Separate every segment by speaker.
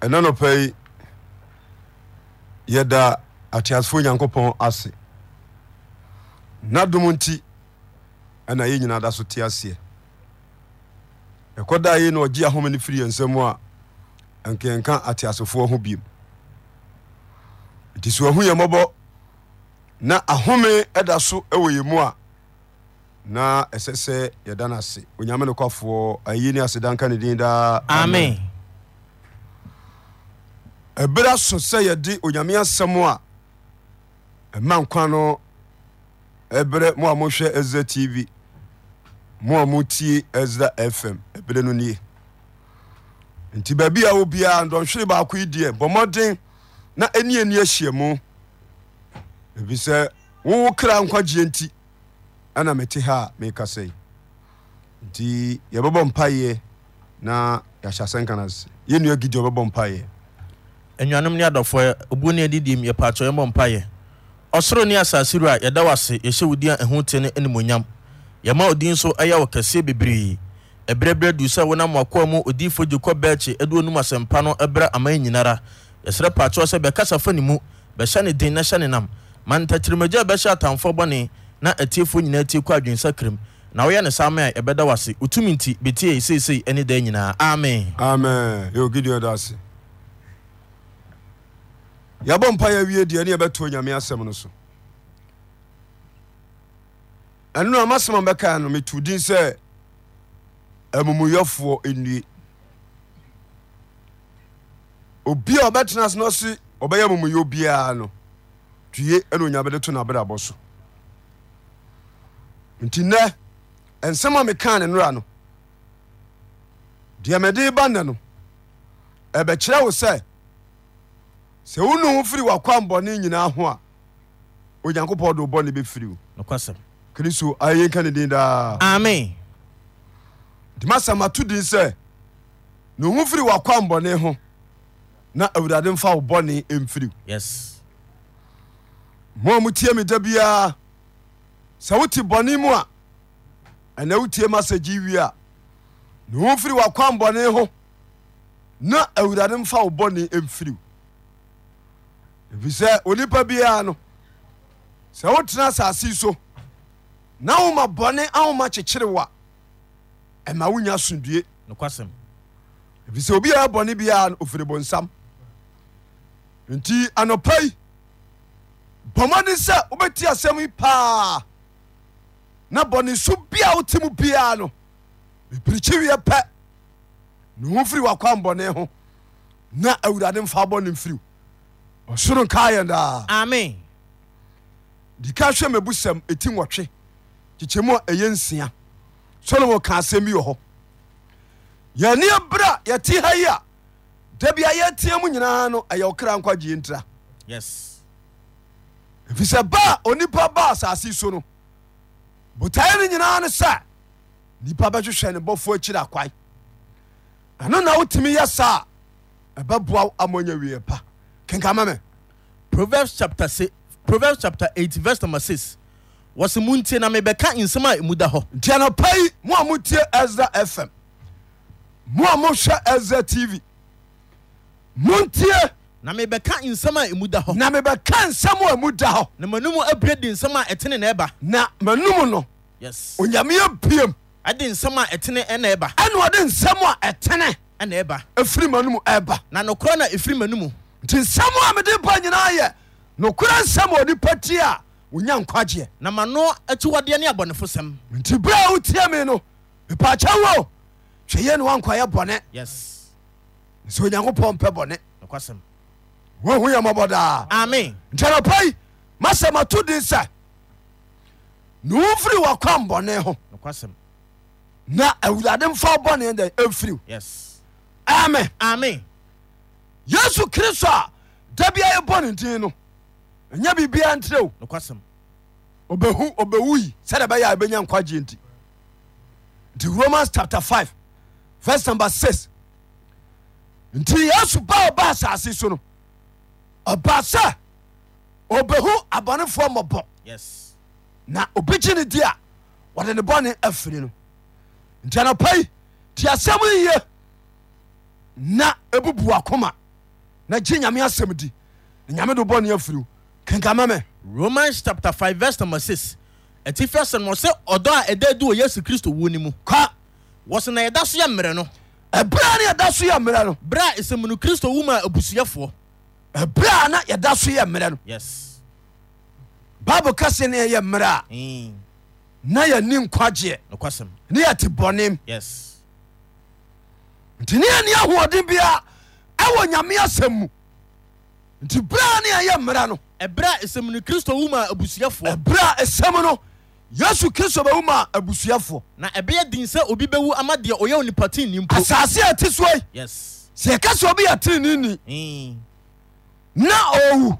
Speaker 1: ɛna nɔpa yi yɛda ateasefoɔ nyankopɔn ase n'adom nti ɛna yɛ nyinaa da so te aseɛ ɛkɔda yei na ɔgye ahoma no firi yɛn nsam a ɛnkɛnka ateasefoɔ ho biom nti sɛ wahu yɛ mmɔbɔ na ahome ɛda so ɛwɔ yɛ mu a na ɛsɛ sɛ yɛda no ase onyame no kwafoɔ ayi ne aseda nka ne din daa
Speaker 2: amen
Speaker 1: ɛberɛ so sɛ yɛde onyame asɛm a ɛma nkwa no ɛberɛ mo a mohwɛ ɛzra tv mo a motie ɛzra fm ɛberɛ no nie nti baabi a wɔ biara ndɔnhwere baako yi deɛ bɔ mmɔden na ɛni ani ahyia mu ɛfisɛ wowo kra nkwagyeɛ nti ɛna mete ha a mekasa yi nti yɛbɛbɔ mpaeɛ na yɛahyɛ asɛnka no ase yɛnnua gidi ɔbɛbɔ mpaeɛ
Speaker 2: anuanom ne adɔfoɔ obuo ne adidim yɛpaakyɛ yɛmmɔ mpayɛ ɔsoro ne asase wura yɛda wo ase yɛhyɛ wo din a ɛho te no animonyam yɛma odin so ɛyɛ wo kɛseɛ bebree ɛberɛberɛ du sɛ wonam wakoa mu odiyifoɔ gyekɔ bɛakye aduo num asɛmpa no ɛbrɛ aman nyinara yɛsrɛ paakyɛw sɛ bɛkasa fa ne mu bɛhyɛ ne den na hyɛ ne nam ma ntakyirimagya a ɛbɛhyɛ atamfoɔ bɔne na atiefoɔ nyinaa tie kɔ adwensa krim na woyɛ ne saa ma a yɛbɛda wo ase wotumi nti bɛtie yɛ seesei ɛne daa nyinaa amen
Speaker 1: amen yɛwɔ gideon da ase yɛabɔ mpa yɛawie deɛ ne yɛbɛto nyame asɛm no so ɛno a masɛm a bɛkaa no metu din sɛ amumuyɛfoɔ nnue obi a ɔbɛtena ase no ɔse ɔbɛyɛ amumuyɛ biara no due ɛna onyabɛde to n'abrabɔ so nti nnɛ ɛnsɛm a mekaa ne nnora no deɛ mede ba nnɛ no ɛbɛkyerɛ wo sɛ sɛ wonu ho firi wakwanbɔne nyinaa ho a onyankopɔn de wo bɔne bɛfiri wo
Speaker 2: nokwasɛm
Speaker 1: kristo ayɛnka ne din daa
Speaker 2: amen
Speaker 1: nti masɛm ato din sɛ ne ho firi wakwanbɔne ho na awurade mfa wo bɔne mfiri wo
Speaker 2: yes
Speaker 1: mo a motie me da biara sɛ wote bɔne mu a ɛnɛ wotie ma sɛ gye wie a ne ho firi wakwanbɔne ho na awurade mfa wo bɔne mfiri wo ɛfisɛ onipa biara no sɛ wotena asase yi so na woma bɔne ahoma kyekyere wo a ɛma wonya asomdue
Speaker 2: nokwasɛm
Speaker 1: ɛfisɛ obiara bɔne biara no ofiri bonsam nti anɔpa yi bɔmmɔde sɛ wobɛti asɛm yi paa na bɔne so bia wote mu biara no mepirikyiwiɛ pɛ ne ho firi wakwanbɔne ho na awurade mfa bɔne mfiriw ɔsoro nkaa yɛn daa
Speaker 2: amen
Speaker 1: dika hwɛ mabusɛm ɛti nwɔtwe kyekyɛmu a ɛyɛ nsia solomon ka asɛm bi wɔ hɔ yɛne berɛ a yɛte ha yi a da bia yɛteɛ mu nyinaa no ɛyɛ wo kra nkwagyeɛ ntira
Speaker 2: yes
Speaker 1: ɛfiri sɛ ba a onipa ba asase yi so no botaeɛ no nyinaa no sɛ nipa bɛhwehwɛ ne bɔfoɔ akyiri akwae ɛno na wotumi yɛ saa a ɛbɛboa wo ama nya wie pa kenkama me
Speaker 2: proverbs chapter si proverbs chapter eight verse number six wɔsi mu ntie na mebɛka nsɛm a emu da hɔ
Speaker 1: nti anɔpa yi mo a motie ɛsra fm mo a mohwɛ ɛsra tv montie
Speaker 2: na mebɛka nsɛm a emu da hɔ
Speaker 1: na mebɛka nsɛm a mu da hɔ
Speaker 2: na m'anum abire di nsɛm a ɛtene na ɛba
Speaker 1: na m'anom no
Speaker 2: yes
Speaker 1: onyame apiem
Speaker 2: ɛdi nsɛm a ɛtene ɛna ɛba
Speaker 1: ɛne ɔde nsɛm a ɛtene
Speaker 2: ɛna ɛba
Speaker 1: ɛfiri m'anom ɛba
Speaker 2: na nokorɛ na efiri m'anum
Speaker 1: nti nsɛm a mede ba nyinaa yɛ nokora nsɛm a onipa tie a wonya nkwagyeɛ
Speaker 2: na m'ano akyiwadeɛ ne abɔnefosɛm
Speaker 1: nti berɛ a wotie me no mepaakyɛ wo hwɛ yɛ ne woankwayɛ bɔne
Speaker 2: yes
Speaker 1: sɛ onyankopɔn mpɛ bɔne
Speaker 2: nokwasɛm
Speaker 1: woahu yɛ mmɔbɔ daa
Speaker 2: amen
Speaker 1: ntanapa yi masɛ mato din sɛ ne womfiri wakwanbɔne ho
Speaker 2: nokwasɛm
Speaker 1: na awurade mfa wo bɔne dɛ ɛmfiriw
Speaker 2: yes
Speaker 1: amen
Speaker 2: amen
Speaker 1: yesu kristo a da bia yɛbɔ ne din no ɛnyɛ biribiaa nterɛ o
Speaker 2: nokwasɛm
Speaker 1: obɛhu obɛwuyi sɛdeɛ ɛbɛyɛ a ɛbɛnya nkwagye nti nti romans chapter 5 verse number 6 nti yesu ba ɔba asase so no ɔba sɛ obɛhu abɔnefoɔ mmɔbɔ
Speaker 2: yes
Speaker 1: na obi gye ne di a wɔde ne bɔne afiri no nti anapa yi te asɛm yiye na ɛbubu akoma na gye nyame asɛm di na nyame de wo bɔne afiri wo kenkama mɛ
Speaker 2: romans chapter 5 verse number 6 ɛti fɛ sɛ no sɛ ɔdɔ a ɛda du wɔ yesu kristo wuo no mu
Speaker 1: ka
Speaker 2: wɔso na yɛda so yɛ mmerɛ no
Speaker 1: ɛberɛ a na yɛda so yɛ mmerɛ no
Speaker 2: berɛ a ɛsɛmunu kristo wu ma abusuafoɔ
Speaker 1: ɛberɛ a na yɛda so yɛ mmerɛ no
Speaker 2: yes
Speaker 1: bible ka se ne yɛyɛ mmerɛ a
Speaker 2: Mm,
Speaker 1: na yɛni nkwagyeɛ
Speaker 2: nokwasɛm
Speaker 1: ne yɛte bɔnem
Speaker 2: yes
Speaker 1: nti ne yɛni ahoɔden bia ɛwɔ nyame asɛm mu nti berɛ a ne yɛyɛ mmerɛ no
Speaker 2: ɛberɛ a ɛsɛmunu kristo wu ma abusuafoɔ
Speaker 1: ɛberɛ a ɛsɛm no yesu kristo bɛwu ma abusuafoɔ
Speaker 2: na ɛbɛyɛ din sɛ obi bɛwu ama deɛ ɔyɛ onipa tenni mpo
Speaker 1: asase a ɛte soa yi
Speaker 2: yes
Speaker 1: sɛ yɛka sɛ obi yɛ tereneni
Speaker 2: Mm,
Speaker 1: na ɔwu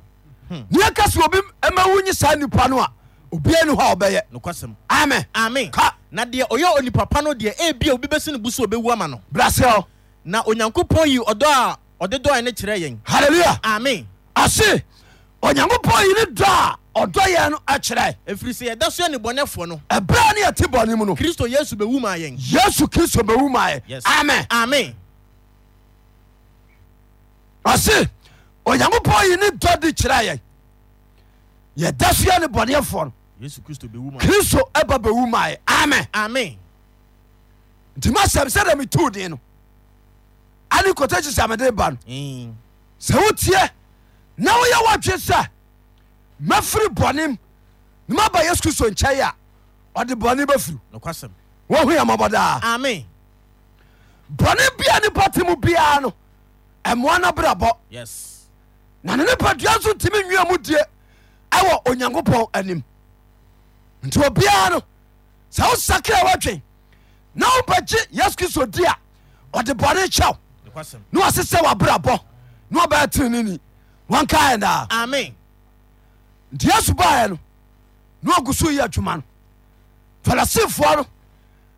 Speaker 1: ne yɛka sɛ obi mawu nye saa nnipa no a obia ni hɔ a wɔbɛyɛ
Speaker 2: nokwasɛm
Speaker 1: amen
Speaker 2: amen
Speaker 1: ka
Speaker 2: na deɛ ɔyɛ onipa pa no deɛ ebia obi bɛsi ne bu so a obɛwu ama no
Speaker 1: brasɛ o
Speaker 2: na onyankopɔn yi ɔdɔ a ɔde dɔɛ no kyerɛ yɛn
Speaker 1: halleluya
Speaker 2: amen
Speaker 1: ase onyankopɔn yi ne dɔ a ɔdɔ yɛn no akyerɛ
Speaker 2: ɛfiri sɛ yɛda so yɛ nebɔnɛfoɔ no
Speaker 1: ɛberɛ ne yɛte bɔne mu no
Speaker 2: kristo yesu bɛwu maa yɛn
Speaker 1: yesu kristo bɛwu maɛ
Speaker 2: Yes.
Speaker 1: amen
Speaker 2: amen
Speaker 1: ɔse onyankopɔn yi ne dɔ de kyerɛ yɛn yɛda so yɛ ne bɔneɛfoɔ no
Speaker 2: yesu kristo bɛwu ma
Speaker 1: kristo ɛba bɛwu maɛ amen
Speaker 2: amen
Speaker 1: nti masɛm sɛ dɛ metoo den no ane kɔtakyi sɛ mede ba no
Speaker 2: Mm,
Speaker 1: sɛ wotie na woyɛ woadwe sɛ mɛfiri bɔnem na maba yesu kristo nkyɛe a ɔde bɔne bɛfiri
Speaker 2: nokwasɛm
Speaker 1: wɔhu yɛmɔbɔ daa
Speaker 2: amen
Speaker 1: bɔne bia nipa te mu biara no ɛmmoa no brabɔ
Speaker 2: yes
Speaker 1: na ne nipadua nso ntimi nwia mu die ɛwɔ onyankopɔn anim nti obiara no sɛ wosakra woadwen na wobɛgye yesu kristo di a ɔde bɔne kyɛw
Speaker 2: nokwasɛm
Speaker 1: na wɔsesɛ wabrabɔ na wɔbɛyɛ tereneni wɔnkaɛ daa
Speaker 2: amen
Speaker 1: nti yesu baɛ no na ɔgu so yi adwuma no farisifoɔ no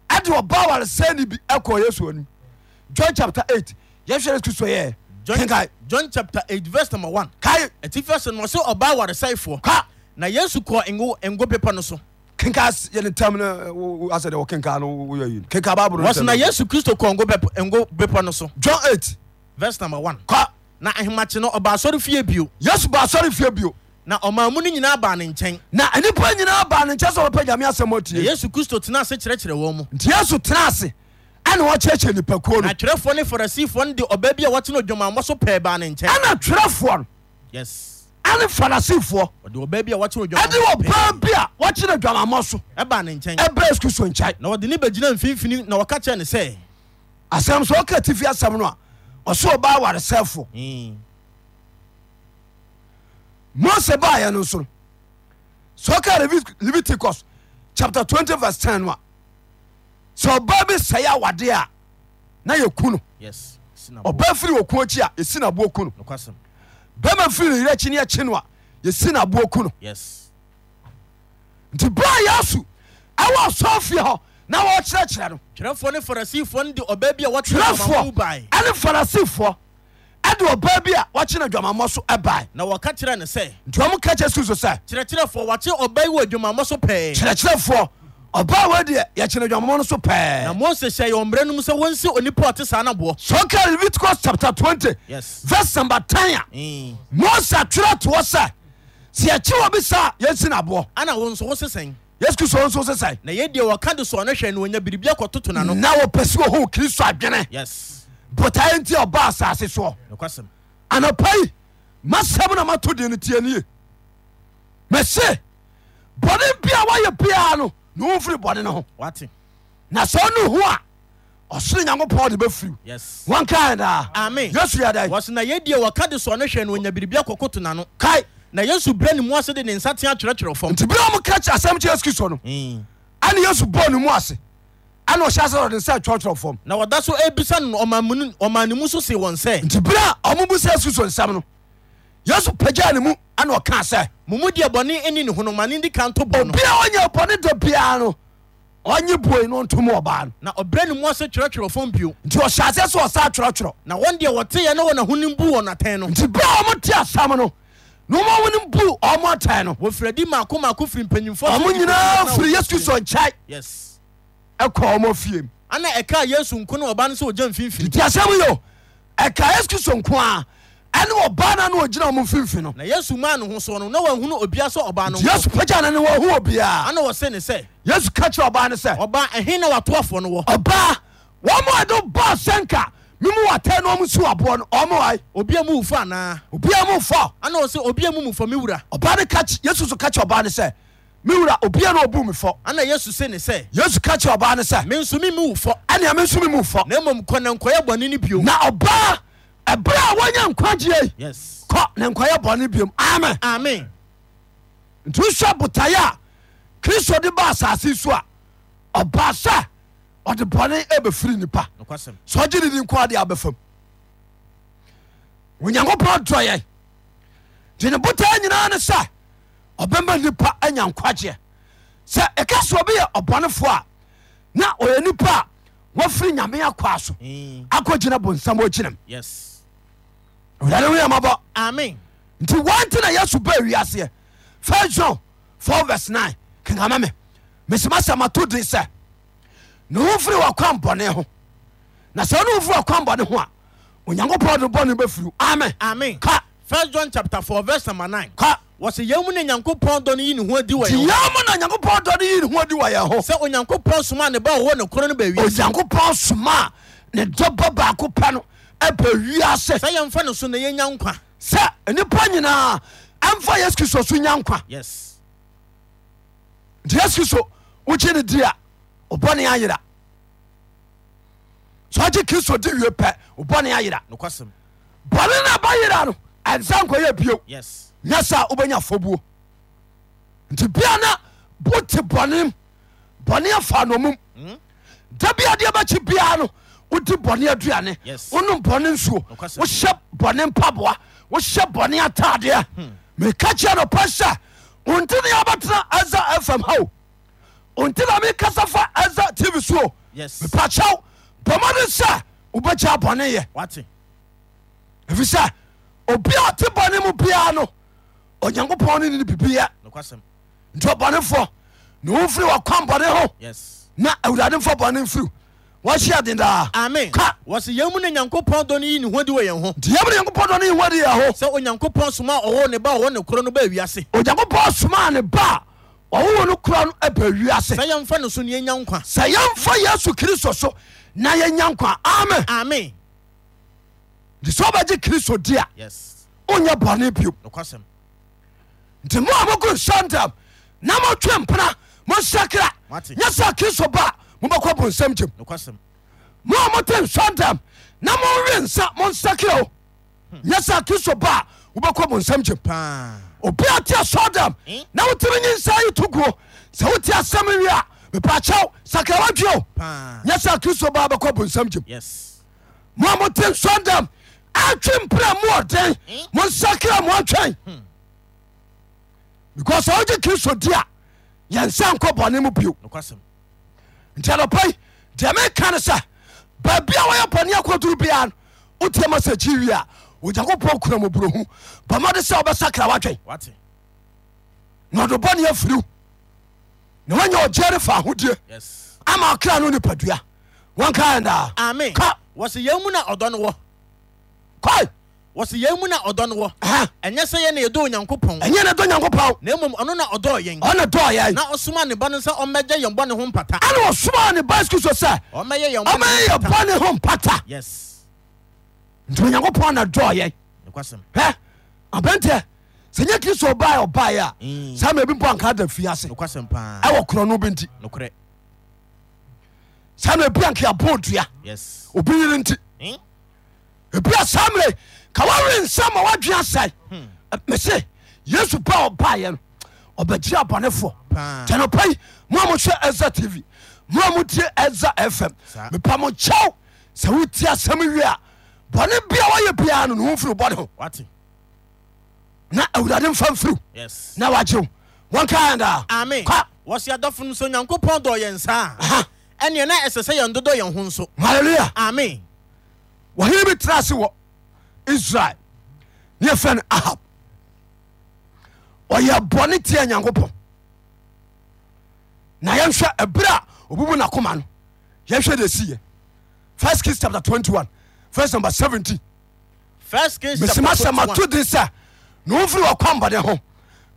Speaker 1: ɛde ɔba waresɛni bi ɛkɔ yesu anim john chapter 8 yɛhwɛ yesu kristo yɛɛ kenkae
Speaker 2: john chapter 8 verse number 1
Speaker 1: kae
Speaker 2: ɛti fɛ sɛ no sɛ ɔbaa waresɛefoɔ
Speaker 1: ka
Speaker 2: na yesu kɔɔ ngo ngo pepa no so
Speaker 1: kenka s- yɛ ne tam no eh, asɛ deɛ wɔkenka no woyɛ yi kenka bible no
Speaker 2: wɔso na
Speaker 1: ntɛm.
Speaker 2: yesu kristo kɔɔ ngo bɛp- ngo bepɔ no so
Speaker 1: john 8
Speaker 2: verse number 1
Speaker 1: ka
Speaker 2: na ahemakye no ɔbaa asɔre fie bio
Speaker 1: yesu ba asɔre fie bio
Speaker 2: na ɔmaa mu no nyinaa baa ne nkyɛn
Speaker 1: na nnipa nyinaa baa ne nkyɛ sɛ wɔpɛ nyame asɛm
Speaker 2: na
Speaker 1: atie
Speaker 2: yesu kristo tenaa ase kyerɛkyerɛ wɔn mu
Speaker 1: nti yesu tena ase ɛne wɔkyerɛkyerɛ nipakuo no
Speaker 2: na twerɛfoɔ ne farisifoɔ no de ɔbaa bi a wɔtena odwamammɔ so pɛɛ baa ne nkyɛn
Speaker 1: ɛna twerɛfoɔ no
Speaker 2: yes
Speaker 1: ɛne farisifoɔ
Speaker 2: ɔde ɔbaa bi a wɔtena
Speaker 1: ɛde
Speaker 2: odwamammɔ so pɛɛ
Speaker 1: ɔbaa bi a wɔkyerɛ adwamammɔ so
Speaker 2: ɛbaa ne nkyɛn
Speaker 1: ɛbrɛ yesu kristo nkyɛe
Speaker 2: na wɔde ne bɛgyina mfimfini na wɔka kyerɛ ne sɛ
Speaker 1: asɛm sɛ ɔka tifi asɛm no a ɔsɛ ɔbaa waresɛfoɔ
Speaker 2: "Mm,
Speaker 1: mose baayɛ no nso no sɛ ɔka Levit- leviticus chapter 20 verse 10 no a sɛ ɔbaa bi sɛe awadeɛ a na yɛku no
Speaker 2: yes si na bo-
Speaker 1: ɔbaa firi ɔku akyi a yɛsi naboɔ ku no
Speaker 2: nokwasɛm
Speaker 1: bɛma firi ne yerɛ akyi ne akyi no a yɛsi naboɔ ku no
Speaker 2: yes
Speaker 1: nti baa yɛasu ɛwɔ asɔfie hɔ na wɔkyerɛkyerɛ no
Speaker 2: twerɛfoɔ ne farisifoɔ no de ɔbaa bi a wɔtena odwamammɔ mu
Speaker 1: twerɛfoɔ
Speaker 2: bae
Speaker 1: ɛne farisifoɔ ɛde ɔbaa bi a wɔakye no adwamammɔ so ɛbae
Speaker 2: na wɔka kyerɛ ne sɛ
Speaker 1: nti ɔmo ka kyerɛ suso sɛ
Speaker 2: kyerɛkyerɛfoɔ wɔakye ɔbaa yi wɔ adwamammɔ so pɛɛ
Speaker 1: kyerɛkyerɛfoɔ ɔbaa wɔ deɛ yɛkyerɛ adwamammɔ no so
Speaker 2: na
Speaker 1: pɛɛ
Speaker 2: mose hyɛɛ ɔmmerɛ no mu sɛ wɔnsi onipa a ɔte saa no aboɔ
Speaker 1: sɛ woka leviticus chapter 20
Speaker 2: Yes.
Speaker 1: vers number 10 a
Speaker 2: Mm.
Speaker 1: mose atwerɛ to wɔ sɛ sɛ yɛkye wɔ bi sa a yɛnsi naboɔ
Speaker 2: ana wo nso wo sesɛn
Speaker 1: yesu kristo nso sɛ sɛe
Speaker 2: na yɛdeɛ wɔka de sɔɔ no hwɛ no ɔnya biribi akɔtoto n'ano
Speaker 1: na wɔpɛ sɛ wɔhɔ wo kristo adwene
Speaker 2: Mm. yes
Speaker 1: botaeɛ nti a ɔbaa asase soɔ
Speaker 2: nokwasɛm
Speaker 1: anapa yi masɛm na mato deɛ no tie nie mɛse bɔne bia woayɛ biaa no na womfiri bɔne no ho
Speaker 2: wate
Speaker 1: na sɛ ɔne ho a ɔsoro nyankopɔn de bɛfiriw
Speaker 2: yes
Speaker 1: wankaɛ daa
Speaker 2: Amen.
Speaker 1: yesu yɛdae
Speaker 2: wɔso na yɛdeɛ wɔka de sɔɔ no hwɛ no ɔnya biribi akɔkoto n'ano
Speaker 1: kae
Speaker 2: na yesu brɛ ne mu ase de ne nsatea kyerɛkyerɛ fam
Speaker 1: nti berɛ ɔmo ka kye asɛm kye yesu kristo no
Speaker 2: Mm.
Speaker 1: ane yesu bɔɔ ne mu ase ane ɔhyɛ asɛ ɔde nsa twerɛtwerɛ fam
Speaker 2: na wɔda so ebisa no ɔma ne mu so se wɔn sɛ
Speaker 1: nti berɛ a ɔmo bu sɛ yesu kristo nsɛm no yesu pagyaa ne mu ane ɔkaa sɛ
Speaker 2: mo mu deɛ bɔne ni ne honomane di ka nto bɔ no
Speaker 1: obia ɔnyɛ bɔne da biaa no ɔnye buei no ntom ɔbaa no
Speaker 2: na ɔbrɛ ne mu ase kyerɛkyerɛ fam bio
Speaker 1: nti ɔhyɛ aseɛ sɛ ɔsa twerɛtwerɛ
Speaker 2: na wɔn deɛ wɔteeɛ na wɔn ahonim bu wɔn atɛn no
Speaker 1: nti berɛ a ɔmo te asɛm no na ɔma wo no bu ɔmo atae no
Speaker 2: wɔfiradi maako maako firi mpanyimfoɔ so
Speaker 1: ɔmo
Speaker 2: ne
Speaker 1: nyinaa
Speaker 2: nnipa
Speaker 1: firi
Speaker 2: na
Speaker 1: yesu kristo nkyɛe
Speaker 2: yes
Speaker 1: ɛkɔ ɔmo fiem
Speaker 2: ana ɛka yesu nko ne ɔba no sɛ ogya mfimfini
Speaker 1: nti asɛm yo ɛka yesu kristo nko a ɛne ɔbaa no ne ɔgyina ɔmo mfimfi no
Speaker 2: na yesu maa ne ho soɔ no na wanhunu obia sɛ ɔbaa no
Speaker 1: yesu pagya no ne wɔhu obiaa
Speaker 2: ana wɔse ne sɛ
Speaker 1: yesu ka kyerɛ ɔbaa no sɛ
Speaker 2: ɔbaa ɛhe na watoafoɔ no wɔ
Speaker 1: ɔbaa wɔma ɛde baa sɛnka memu wɔtɛ na ɔmo si wɔaboɔ no ɔmo ai
Speaker 2: obia mu wufo anaa
Speaker 1: obia mu mfa
Speaker 2: ana ɔse obia mu mufɔ me wura
Speaker 1: ɔbaa no ka kye- yesu so ka kyerɛ ɔbaa no sɛ me wura obia na ɔbu me fɔ
Speaker 2: ana yesu se ne sɛ
Speaker 1: yesu ka kyerɛ ɔbaa no sɛ
Speaker 2: me nso me me wufɔ
Speaker 1: ɛnea me nso me mu fɔ
Speaker 2: na mmom kɔ ne nkɔyɛ bɔne no bio
Speaker 1: na ɔbaa ɛberɛ a wɔnya nkwagyee
Speaker 2: yes
Speaker 1: kɔ ne nkɔyɛ bɔne biom amen
Speaker 2: amen
Speaker 1: nti wohwɛ botaeɛ a kristo de ba asase so a ɔba sɛ ɔde bɔne ɛbɛfiri nipa
Speaker 2: nokwasɛm
Speaker 1: sɛ ɔgye ne di nko ade abɛfam onyankopɔn dɔyɛ nti ne botaa nyinaa ne sɛ ɔbɛma nipa anya nkwagyeɛ sɛ ɛka sɛ obi yɛ ɔbɔnefoɔ a na ɔyɛ nipa a wɔfiri nyame akɔa so
Speaker 2: Mm,
Speaker 1: akɔgyina bonsam ɔgyinam
Speaker 2: yes
Speaker 1: wurade woyɛmabɔ
Speaker 2: amen
Speaker 1: nti wɔnte na yesu baa wiaseɛ fis john 4 vs 9 kenkama me mesoma sɛ mato den sɛ ne ho mfiri wakwan bɔne ho na sɛ ne ho mfiri wakwan bɔne ho a onyankopɔn de bɔne bɛfiri amen
Speaker 2: amen
Speaker 1: ka
Speaker 2: first john chapter 4 verse number 9
Speaker 1: ka
Speaker 2: wɔse yɛn mu ne nyankopɔn dɔ no yi ne ho adi wɔ
Speaker 1: nti
Speaker 2: yɛn ho.
Speaker 1: yɛa mu na nyankopɔn dɔ de yi ne ho adi wɔ yɛn ho
Speaker 2: sɛ onyankopɔn somaa ne ba a ɔwɔ ne korɔ no baawie
Speaker 1: onyankopɔn soma a ne dɔbɔ baako pɛ no ɛbɛ wiase
Speaker 2: sɛ yɛmfa ne so na yɛnya nkwa
Speaker 1: sɛ nnipa nyinaa ɛmfa yesu kristo so nya nkwa
Speaker 2: yes
Speaker 1: nti yesu kristo wokye ne di a ɔbɔne ayera so agye kristo di wie pɛ ɔbɔne ayera
Speaker 2: nokwasɛm
Speaker 1: bɔne no aba yera no ɛnsa nkɔyɛ bio
Speaker 2: yes
Speaker 1: nyɛ sa wobɛnya afɔbuo nti bia na wote bɔne m, bɔne afa nomum
Speaker 2: Mm.
Speaker 1: da bia deɛ bɛkyi biaa no wodi bɔne aduane
Speaker 2: Yes.
Speaker 1: wonom bɔne nsuo
Speaker 2: Nokwasɛm.
Speaker 1: wohyɛ bɔne mpaboa wohyɛ bɔne atadeɛ
Speaker 2: Hmm.
Speaker 1: meka kyerɛ no pa sɛ onti ne yɛbɛtena ɛza fm hao onti na mekasa fa ɛza tv soo
Speaker 2: Yes.
Speaker 1: mepakyɛw bɔma no sɛ wobɛkya bɔneyɛ
Speaker 2: wate
Speaker 1: ɛfisɛ obi a ɔte bɔne mu biaa no onyankopɔn no ne ne bibiyɛ
Speaker 2: nokwasɛm
Speaker 1: nti ɔbɔnefoɔ ne womfiri wɔkwan bɔne ho
Speaker 2: yes
Speaker 1: na awurade mfa bɔne mfiriw wɔhyeɛ den daa
Speaker 2: amen
Speaker 1: Ka.
Speaker 2: wɔse yɛn mu ne nyankopɔn dɔ no yi ne ho adi wɔ yɛn ho
Speaker 1: nti yɛmne nyankopɔn dɔ no yɛho ade yɛ ho
Speaker 2: sɛ onyankopɔn somaa ɔwɔ ne ba a ɔwɔ ne korɔ no baawiase
Speaker 1: onyankopɔn somaa ne ba a ɔwowɔ no kura no aba wiase
Speaker 2: sɛ yɛmfa ne so na yɛnya nkwa
Speaker 1: sɛ yɛmfa yesu kristo so na yɛnya nkwa amen
Speaker 2: amen
Speaker 1: nti sɛ wobɛgye kristo di a
Speaker 2: yes
Speaker 1: wonyɛ bɔne bio
Speaker 2: nokwasɛm
Speaker 1: nti mo a mokɔ sɛntam na motwe mpena mosakra
Speaker 2: Mate.
Speaker 1: nyɛ sɛ kristo ba a mobɛkɔ bonsɛm gyem
Speaker 2: nokwasɛm
Speaker 1: mo a mote nsɔntam na mowe nsa monsakra o nyɛ sɛ kristo ba a wobɛkɔ bonsɛm gyem
Speaker 2: paa
Speaker 1: obi a te asɔdam
Speaker 2: Mm.
Speaker 1: na wotimi nye nsa yi toguo sɛ wote asɛm wie a mepakyɛw sakrawatweo
Speaker 2: paa
Speaker 1: nyɛ sɛ kristo baa bɛkɔ bonsam gyem
Speaker 2: yes
Speaker 1: mo a mote nsɔdam atwe mpra mu ɔden
Speaker 2: Mm.
Speaker 1: monsakra mo atwɛn because sɛ wogye kristo di a yɛnsa nkɔ bɔne mu bio
Speaker 2: nokwasɛm
Speaker 1: nti anɔpai deɛ meka ne sɛ baabi a wɔyɛ bɔne akɔduru biaa no wotiama sɛ kyi wie a onyankopɔn kura mɔburohu bamade sɛ wobɛsakra watwɛn
Speaker 2: wate
Speaker 1: na ɔde bɔne afiriw na wanya ɔgyere fa ahodie
Speaker 2: yes
Speaker 1: ama ɔkra no nipadua wankaɛ daa
Speaker 2: amen
Speaker 1: Ka.
Speaker 2: wɔse yɛn mu na ɔdɔ no wɔ
Speaker 1: kɔe
Speaker 2: wɔse yɛn mu na ɔdɔ no wɔ
Speaker 1: Ɛhɛ.
Speaker 2: ɛnyɛ sɛ yɛn na yɛdɔ onyankopɔn
Speaker 1: ɛnyɛ ne dɔ nyankopɔn
Speaker 2: na mmom ɔno na ɔdɔɔ yɛn
Speaker 1: ɔne dɔɔyɛe
Speaker 2: na ɔsomaa ne ba no sɛ ɔmmɛgye yɛn bɔne ho mpata
Speaker 1: ane ɔsomaa ne bicycle so sɛ
Speaker 2: ɔmmɛyɛ yɛn
Speaker 1: ɔmɛyɛ yɛ
Speaker 2: bɔne ho mpata
Speaker 1: bɔne ho mpata
Speaker 2: yes
Speaker 1: nti onyankopɔn na dɔɔyɛe
Speaker 2: nokwasɛm
Speaker 1: hɛ abɛntɛ sɛ nyɛ kristo ɔbaɛ ɔbaeɛ a
Speaker 2: Mm.
Speaker 1: saa ma bi mpo anka da fie ase
Speaker 2: nokwasɛm paa
Speaker 1: ɛwɔ korɔ no bi nti
Speaker 2: nokorɛ
Speaker 1: saa na bi anka yɛbɔɔ dua
Speaker 2: yes
Speaker 1: obi yere nti
Speaker 2: Hmm?
Speaker 1: ebi asamre ka wawe nsa ma wadwe asɛe
Speaker 2: Hmm.
Speaker 1: mese yesu pa ɔbaeɛ no ɔbɛgyira abɔnefoɔ
Speaker 2: Paa.
Speaker 1: gyanopai mo a mohwɛ ɛza tv mo a motie ɛza fm
Speaker 2: Saa.
Speaker 1: mepa mo kyɛw sɛ wotie asɛm wie a bɔne bia wayɛ biaa no ne ho mfiri wo bɔne ho
Speaker 2: wate
Speaker 1: na awurade mfa mfiriw
Speaker 2: yes
Speaker 1: na wagye wo wɔnkaɛdaa
Speaker 2: amen wɔse adɔfo no nso onyankopɔn dɔɔ yɛn saa
Speaker 1: Aha.
Speaker 2: ɛneɛ na ɛsɛ sɛ yɛn dodɔ yɛn ho nso
Speaker 1: halleluya
Speaker 2: amen
Speaker 1: wɔhene bi tena ase wɔ israel ne yɛfrɛ no ahab ɔyɛ bɔne tia nyankopɔn na yɛnhwɛ ɛberɛ a obubu nakoma no yɛhwɛ de siyɛ first kings chapter 21 verse number 17
Speaker 2: first kings chapter
Speaker 1: mesima sɛ
Speaker 2: 21
Speaker 1: mato den sɛ na womfiri wɔkwambɔne ho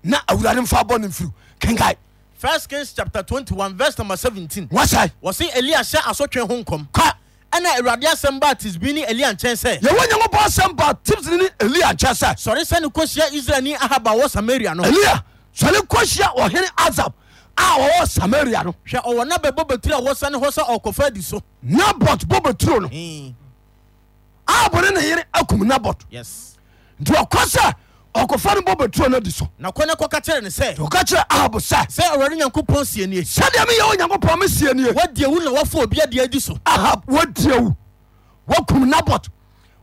Speaker 1: na awurade mfa bɔ ne mfiri kenkae
Speaker 2: first kings chapter 21 verse number 17
Speaker 1: wasae
Speaker 2: wɔse elia hyɛ asotwe ho nkɔm
Speaker 1: ka
Speaker 2: ɛna awurade asɛm baa tisbi ne elia nkyɛn sɛ
Speaker 1: yɛwɔ nyankopɔn asɛm ba tipsne ne elia nkyɛ sɛ
Speaker 2: sɔre sɛ ne kɔhyia israelni ahaba wɔ samaria no
Speaker 1: elia sɔre kɔhyia ɔhene asab a wɔwɔ samaria no
Speaker 2: hwɛ ɔwɔ na bɛbɔ batiri a wɔsane hɔ sɛ ɔkɔfa adi so
Speaker 1: nabot bobɛturo no abone ne yere akum nabot
Speaker 2: yes
Speaker 1: nti ɔkɔ sɛ ɔkɔfa no bobɛturo no adi so
Speaker 2: na kɔne kɔka kyerɛ ne sɛ
Speaker 1: ɔka kyerɛ ahab sɛ
Speaker 2: sɛ awurade nyankopɔn sie nie
Speaker 1: sɛdeɛ meyɛwɔ nyankopɔn mesie nie
Speaker 2: woadie wo na wɔfa obi adeɛ adi so
Speaker 1: ahab wɔdie wo wɔkum nabot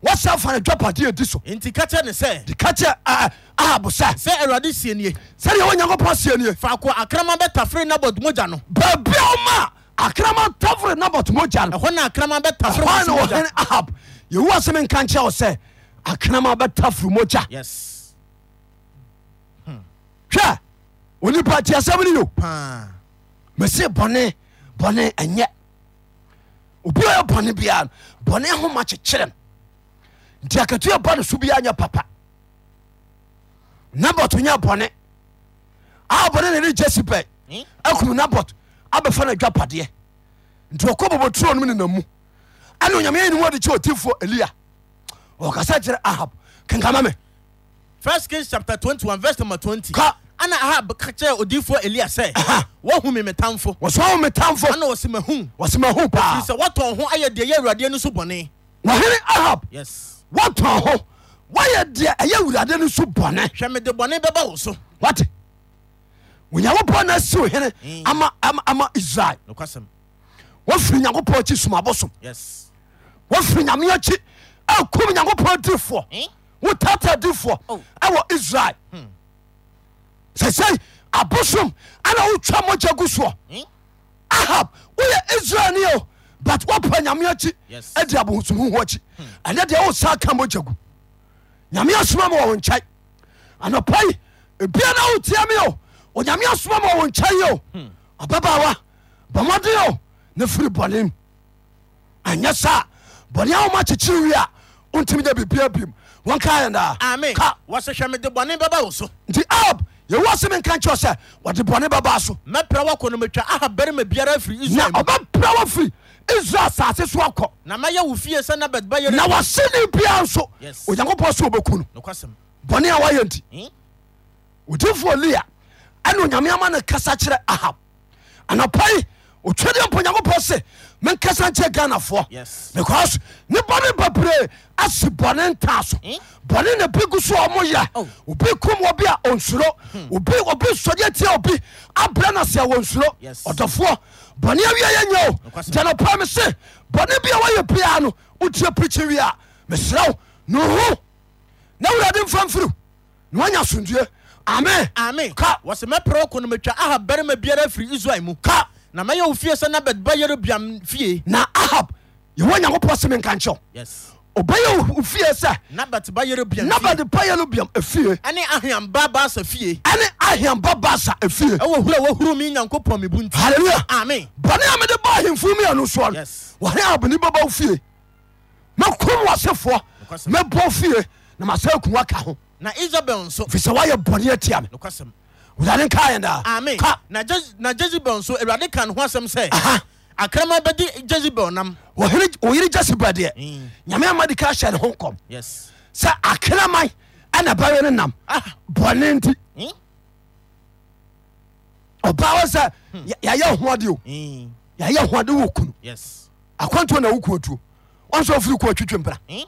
Speaker 1: wɔsɛ fa ne dwapade adi so
Speaker 2: enti ka kyerɛ ne sɛ
Speaker 1: de ka kyerɛ eh, ahab sɛ
Speaker 2: sɛ awurade sie nie
Speaker 1: sɛdeɛ ɛwɔ nyankopɔn sie nie
Speaker 2: faako a akraman bɛtafere nabɔd mogya no
Speaker 1: baabia woma akrama tafore nabot mogya no
Speaker 2: ɛhɔ na akraman
Speaker 1: hɔ
Speaker 2: bɛtafere wɔn
Speaker 1: ne
Speaker 2: mogya.
Speaker 1: wɔhene ahab yɛwu asɛm nka nkyerɛ wo sɛ akrama bɛtaforo mogya
Speaker 2: yes
Speaker 1: hwɛ onipa tiasɛm no yo
Speaker 2: paa
Speaker 1: mese bɔne bɔne ɛnyɛ obi a ɔyɛ bɔne biara no bɔne ahoma kyekyere no nti akatua ba no so biara nyɛ papa nabot nyɛ bɔne a bɔne ne ne jesibe
Speaker 2: Hmm?
Speaker 1: akum nabot abɛfa no adwapadeɛ nti ɔkɔ bɔbɔturo nom nenam mu ɛne onyame anim ade kyɛ ɔtifoɔ elia ɔkasa kyerɛ ahab kenkama me
Speaker 2: first kings chapter twenty one verse number twenty
Speaker 1: Ka.
Speaker 2: ana ahab ka kyerɛ odiifoɔ elia sɛ
Speaker 1: Aha.
Speaker 2: wɔhu mi mi tamfo
Speaker 1: wɔsoma wo Ah. metamfo
Speaker 2: ana wɔsi ma hu
Speaker 1: wɔsemaho paa
Speaker 2: sɛ wɔtɔn ho ayɛ deɛ yɛ awurade no so bɔne
Speaker 1: wɔhene ahab
Speaker 2: yes
Speaker 1: wɔtɔn ho wɔyɛ deɛ ɛyɛ awurade no so bɔne
Speaker 2: hwɛ mi de bɔne bɛba wɔ so
Speaker 1: wate onyankopɔn na asiw hene
Speaker 2: Mm.
Speaker 1: ama, ama, ama israel
Speaker 2: nokwasɛm
Speaker 1: wafiri nyankopɔn akyi somabɔsom
Speaker 2: yes
Speaker 1: wafiri nyame akyi akum nyankopɔn difoɔ
Speaker 2: Mm.
Speaker 1: wo tata difoɔ
Speaker 2: Oh.
Speaker 1: ɛwɔ israel sɛ sɛi abosom ana wotwa mogya gu soɔ
Speaker 2: Hmm?
Speaker 1: ahab woyɛ israel ne o but wopa nyame akyi
Speaker 2: Yes.
Speaker 1: adi abohosomhoho akyi ɛnɛ deɛ wo saa ka mogya gu nyame asoma ma wɔwo nkyɛe anɔpai ebia na wotia me o onyame asoma ma wɔwo nkyɛe o
Speaker 2: Hmm.
Speaker 1: ɔbabaawa bɔmmɔden o ne firi bɔne m anyɛ saa bɔne a woma kyekyere wie a wontimi nya biribia bim wɔnka
Speaker 2: amen
Speaker 1: yɛndaa ka
Speaker 2: wɔsi hwɛ mi de bɔne bɛba wɔ so
Speaker 1: nti ab yɛwɔ asɛm nka nkyɛw sɛ wɔde bɔne bɛbaa so
Speaker 2: mɛpira wɔkɔ no metwa ahab barima biara firi
Speaker 1: na
Speaker 2: israel mu
Speaker 1: ɔbɛpra wɔ firi israel asase so akɔ
Speaker 2: na mayɛ wo fie sɛ nabɛt bɛyɛ
Speaker 1: na wasene biara nso
Speaker 2: Yes.
Speaker 1: onyankopɔn sɛ wobɛku no
Speaker 2: nokwasɛm
Speaker 1: bɔne a wayɛ nti
Speaker 2: Hmm?
Speaker 1: odifoɔ lia ɛne onyame ama no kasa kyerɛ ahab anapai otwadeɛ mpo onyankopɔn se menkasa nkyerɛ
Speaker 2: Yes.
Speaker 1: ghanafoɔ because ne bɔne babree ase bɔne ntaa so
Speaker 2: Hmm?
Speaker 1: bɔne na bi gu so a ɔmo
Speaker 2: Oh.
Speaker 1: yɛ
Speaker 2: Hmm.
Speaker 1: obi kum obi a ɔnsuro obi obi sɔdeɛ tia obi abrɛ no sɛ wɔnsuro
Speaker 2: Yes.
Speaker 1: ɔdɔfoɔ bɔne awia yɛ nyɛ o
Speaker 2: Nokwasɛm.
Speaker 1: nti anapa me se bɔne bi a wɔyɛ biaa no wotie pirikyi wie a mesrɛ wo ne ho na wurade mfa mfiriw na woanya asomdue amen
Speaker 2: amen
Speaker 1: Ka.
Speaker 2: wɔsi mɛpira wɔkɔ no metwa ahab barima biara firi israel mu
Speaker 1: ka
Speaker 2: na mayɛ wo fie sɛ nabɛt bɛyɛ biam fie
Speaker 1: na ahab yɛwɔ nyankopɔn se menka nkyɛw
Speaker 2: yes
Speaker 1: ɔbɛyɛ wo fie sɛ
Speaker 2: nabɛt bɛyɛ biam fie
Speaker 1: nabade payɛ no biam afie
Speaker 2: ɛne ahiam babaasa fie
Speaker 1: ɛne ahiamba basa afie
Speaker 2: ɛwɔ hura wɔhuru mi nyankopɔn mi bu nti
Speaker 1: halleluya
Speaker 2: amen
Speaker 1: bɔne a mede ba ahemfo mu yɛno soɔ no
Speaker 2: Yes.
Speaker 1: wɔne abone bɛba wo fie mɛkom wasefoɔ
Speaker 2: Nokwasɛm.
Speaker 1: mɛbɔ wo fie na masɛ akum waka ho
Speaker 2: na isabel nso
Speaker 1: firi sɛ woayɛ bɔne atia me
Speaker 2: nokwasɛm
Speaker 1: wurade nka yɛ daa
Speaker 2: amen
Speaker 1: ka
Speaker 2: na Jez- na jezebel nso awurade ka ne ho asɛm sɛ
Speaker 1: Aha.
Speaker 2: akraman bɛdi jezebel nam
Speaker 1: Ɔhene- oyere jesiba deɛ
Speaker 2: Mm.
Speaker 1: nyame ama de ka hyɛ ne ho nkɔm
Speaker 2: yes
Speaker 1: sɛ akraman ɛna bɛwe no nam
Speaker 2: ah
Speaker 1: bɔne nti
Speaker 2: hmm?
Speaker 1: ɔba wɔ sɛ yɛ- yɛyɛ hoɔde o
Speaker 2: Hmm.
Speaker 1: yɛyɛ hoɔde wɔ kunu
Speaker 2: yes
Speaker 1: akwantuo na wokuo tuo ɔnso wofiri kuo twitwe mpra
Speaker 2: Hmm?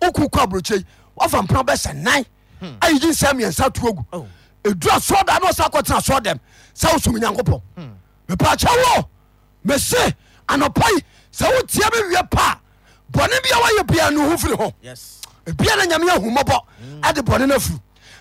Speaker 1: woku kɔ aburokyei wafa mpra bɛsɛ nan ayigyi nsɛ miɛnsa to agu
Speaker 2: Hmm. Oh.
Speaker 1: ɛdura sɔda ne ɔsa kɔtena sɔ dɛm sɛ wosom nyankopɔn
Speaker 2: Hmm.
Speaker 1: mepaakyɛ wo mese anɔpai sɛ wotia me wie paa bɔne bia wayɛ bia ne ho firi ho
Speaker 2: yes
Speaker 1: ebia na nyame ahumɔbɔ
Speaker 2: Hmm.
Speaker 1: ɛde bɔne no afuru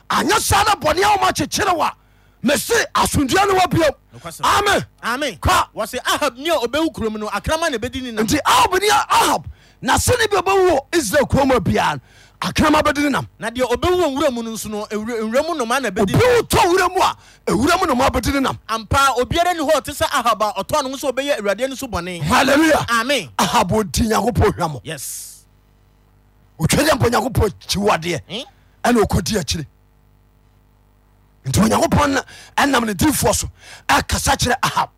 Speaker 1: anyɛ saa na bɔne a woma kyekyere wo a mese asomdua no wa biom
Speaker 2: Nokwasɛm.
Speaker 1: amen
Speaker 2: amen
Speaker 1: Ka.
Speaker 2: wɔsi ahab ni a obewu kurom no akraman na ebedi ni nam
Speaker 1: nti ahab ne ahab nasene bi bɛwu wɔ israel kurom a biara no akrama bɛde ne nam
Speaker 2: na deɛ obewu wɔ nwura mu no nso no ewura nwura mu noma na
Speaker 1: obi
Speaker 2: ebedi
Speaker 1: wo tɔ wura mu a ɛwura mu noma bɛde ne nam
Speaker 2: ampa obiara ni hɔ a ɔte sɛ ahab a ɔtɔn ne ho sɛ ɔbɛyɛ awurade no so bɔne
Speaker 1: halleluya
Speaker 2: amen
Speaker 1: ahab odi nyankopɔn hwɛ mɔ
Speaker 2: yes
Speaker 1: otwa dɛ mpa onyankopɔn kyiwadeɛ
Speaker 2: Hmm?
Speaker 1: ɛna ɔkɔdi akyire nti onyankopɔn na ɛnam ne dirifoɔ so ɛkasa kyerɛ ahab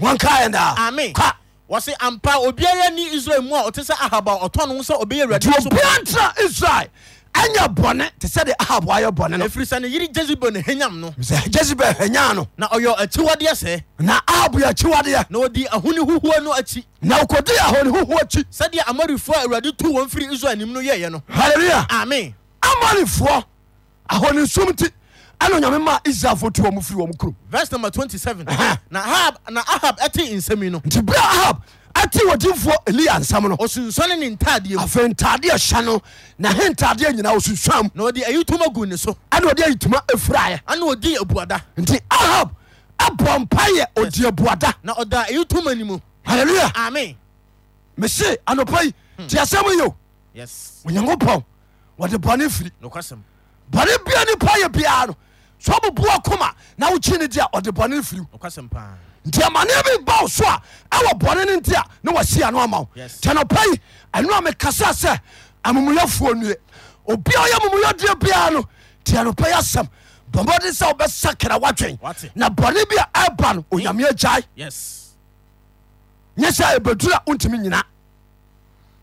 Speaker 1: wankaɛ
Speaker 2: Amen.
Speaker 1: daa
Speaker 2: wɔse ampa obiara ni israel mu a ɔte sɛ ahaba ɔtɔ no ho sɛ
Speaker 1: nti
Speaker 2: ɔbɛyɛ awurade so
Speaker 1: obia ntena israel ɛnyɛ bɔne te sɛ de ahab ayɛ bɔne no
Speaker 2: ɛfiri sɛ ne yere jezebel ne hanyam no
Speaker 1: sɛ jezebel hanya no
Speaker 2: na ɔyɛ akyiwadeɛ sɛ
Speaker 1: na ahab yɛ akyiwadeɛ
Speaker 2: na ɔdi ahoni huhuo no akyi
Speaker 1: na ɔkɔdi ahɔne hohoɔ akyi
Speaker 2: sɛdeɛ amarifoɔ a awurade tuu wɔn firi israel nim no yɛeɛ no
Speaker 1: halleluya
Speaker 2: amen
Speaker 1: amanifoɔ ahɔne som nti ɛna onyame ma israelfoɔ tu wɔ mu firi wɔ mu kurom
Speaker 2: verse number 27
Speaker 1: Aha.
Speaker 2: na ahab na ahab ɛte nsɛm yi no
Speaker 1: nti berɛ ahab ɛte wɔgyimfoɔ eliya nsam no
Speaker 2: ɔsunsuane ne ntadeɛ mu
Speaker 1: afei ntadeɛ hyɛ no na he ntadeɛ nyinaa osunsuam
Speaker 2: na ɔde ayitoma gu ne so
Speaker 1: ɛna ɔde ayituma afiraeɛ
Speaker 2: ana ɔdii abuada
Speaker 1: nti ahab abɔ mpayɛ ɔdi abuada
Speaker 2: na ɔda ayitoma ni mu
Speaker 1: halleluya
Speaker 2: amen
Speaker 1: mese anɔpa yi te asɛm yo
Speaker 2: yes
Speaker 1: onyankopɔn wɔde bɔne firi
Speaker 2: nokwasɛm
Speaker 1: bɔne bia nipa yɛ biara no sɛ ɔboboa koma na wokyi no de a ɔde bɔne firi wo.
Speaker 2: nokwasɛm paa
Speaker 1: nti amane bi ba wo so a ɛwɔ bɔne no nti a ne wɔsia no ama wo
Speaker 2: Yes.
Speaker 1: nti anɔpa yi ɛno a mekasa sɛ amomuyɛfoɔ nnue obia woyɛ amomuyɛdeɛ biara no nti anɔpa yi asɛm bɔmmɔden sɛ wobɛsa kra woadwen
Speaker 2: Wate.
Speaker 1: na bɔne bi a ɛba no onyame agyae
Speaker 2: yes
Speaker 1: nyɛ sɛ ɛbɛduru a wontumi nyina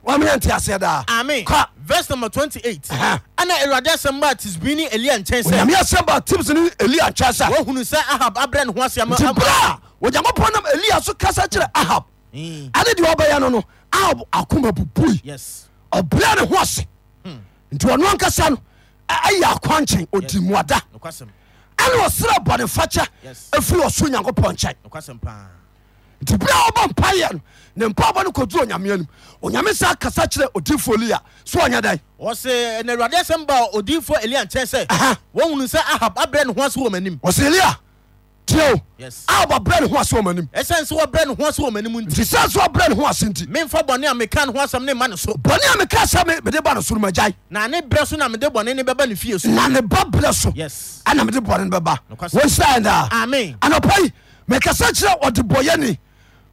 Speaker 1: wameyɛ nte aseɛ daa
Speaker 2: amen
Speaker 1: Ka.
Speaker 2: verse number 28
Speaker 1: Aha.
Speaker 2: ana awurade asɛm baa tisbini elia nkyɛn sɛ
Speaker 1: onyame asɛm ba tips no elia nkyɛ sɛ
Speaker 2: wahunu sɛ ahab abrɛ ne ho ase ama
Speaker 1: nti berɛ a onyankopɔn nam elia so kasa kyerɛ ahab
Speaker 2: Mm.
Speaker 1: ade deɛ wɔbɛyɛ no no ahab akoma bubui
Speaker 2: yes
Speaker 1: ɔbrɛ ne ho ase nti ɔno ankasa no ɛ- ɛyɛ akwankyen ɔdi mmuada
Speaker 2: nokwasɛm
Speaker 1: ɛne ɔserɛ bɔne fakyɛ
Speaker 2: Yes.
Speaker 1: ɛfiri ɔso onyankopɔn nkyɛn
Speaker 2: nokwasɛm paa
Speaker 1: nti berɛ a wɔbɔ mpayɛ no ne mpabɔ no kɔduru onyame anim onyame sa kasa kyerɛ odifoɔ lia so ɔnyɛ dɛn
Speaker 2: wɔse na awurade asɛm baa odiyifoɔ elia nkyɛn sɛ
Speaker 1: Aha.
Speaker 2: wahunu sɛ ahab abrɛ ne ho ase wɔ m'anim
Speaker 1: ɔsɛ lia tie o
Speaker 2: Yes.
Speaker 1: ahab ɔbrɛ ne ho ase wɔ m'anim
Speaker 2: ɛsiane sɛ wɔbrɛ ne ho ase wɔ m'anim nti
Speaker 1: nti sɛ so ɔbrɛ ne ho ase nti
Speaker 2: memfa bɔne a meka ne ho asɛm ne mma ne so
Speaker 1: bɔne a meka sɛ me- mede ba no soro magyae
Speaker 2: na ne berɛ so na mede bɔne ne bɛba ne fie so
Speaker 1: na ne ba berɛ so
Speaker 2: yes
Speaker 1: ana mede bɔne no bɛba
Speaker 2: Nokwasɛm. Ah.
Speaker 1: wɔnsiraɛ daa
Speaker 2: amen
Speaker 1: anɔpa yi mekasa kyerɛ ɔde bɔyɛ ni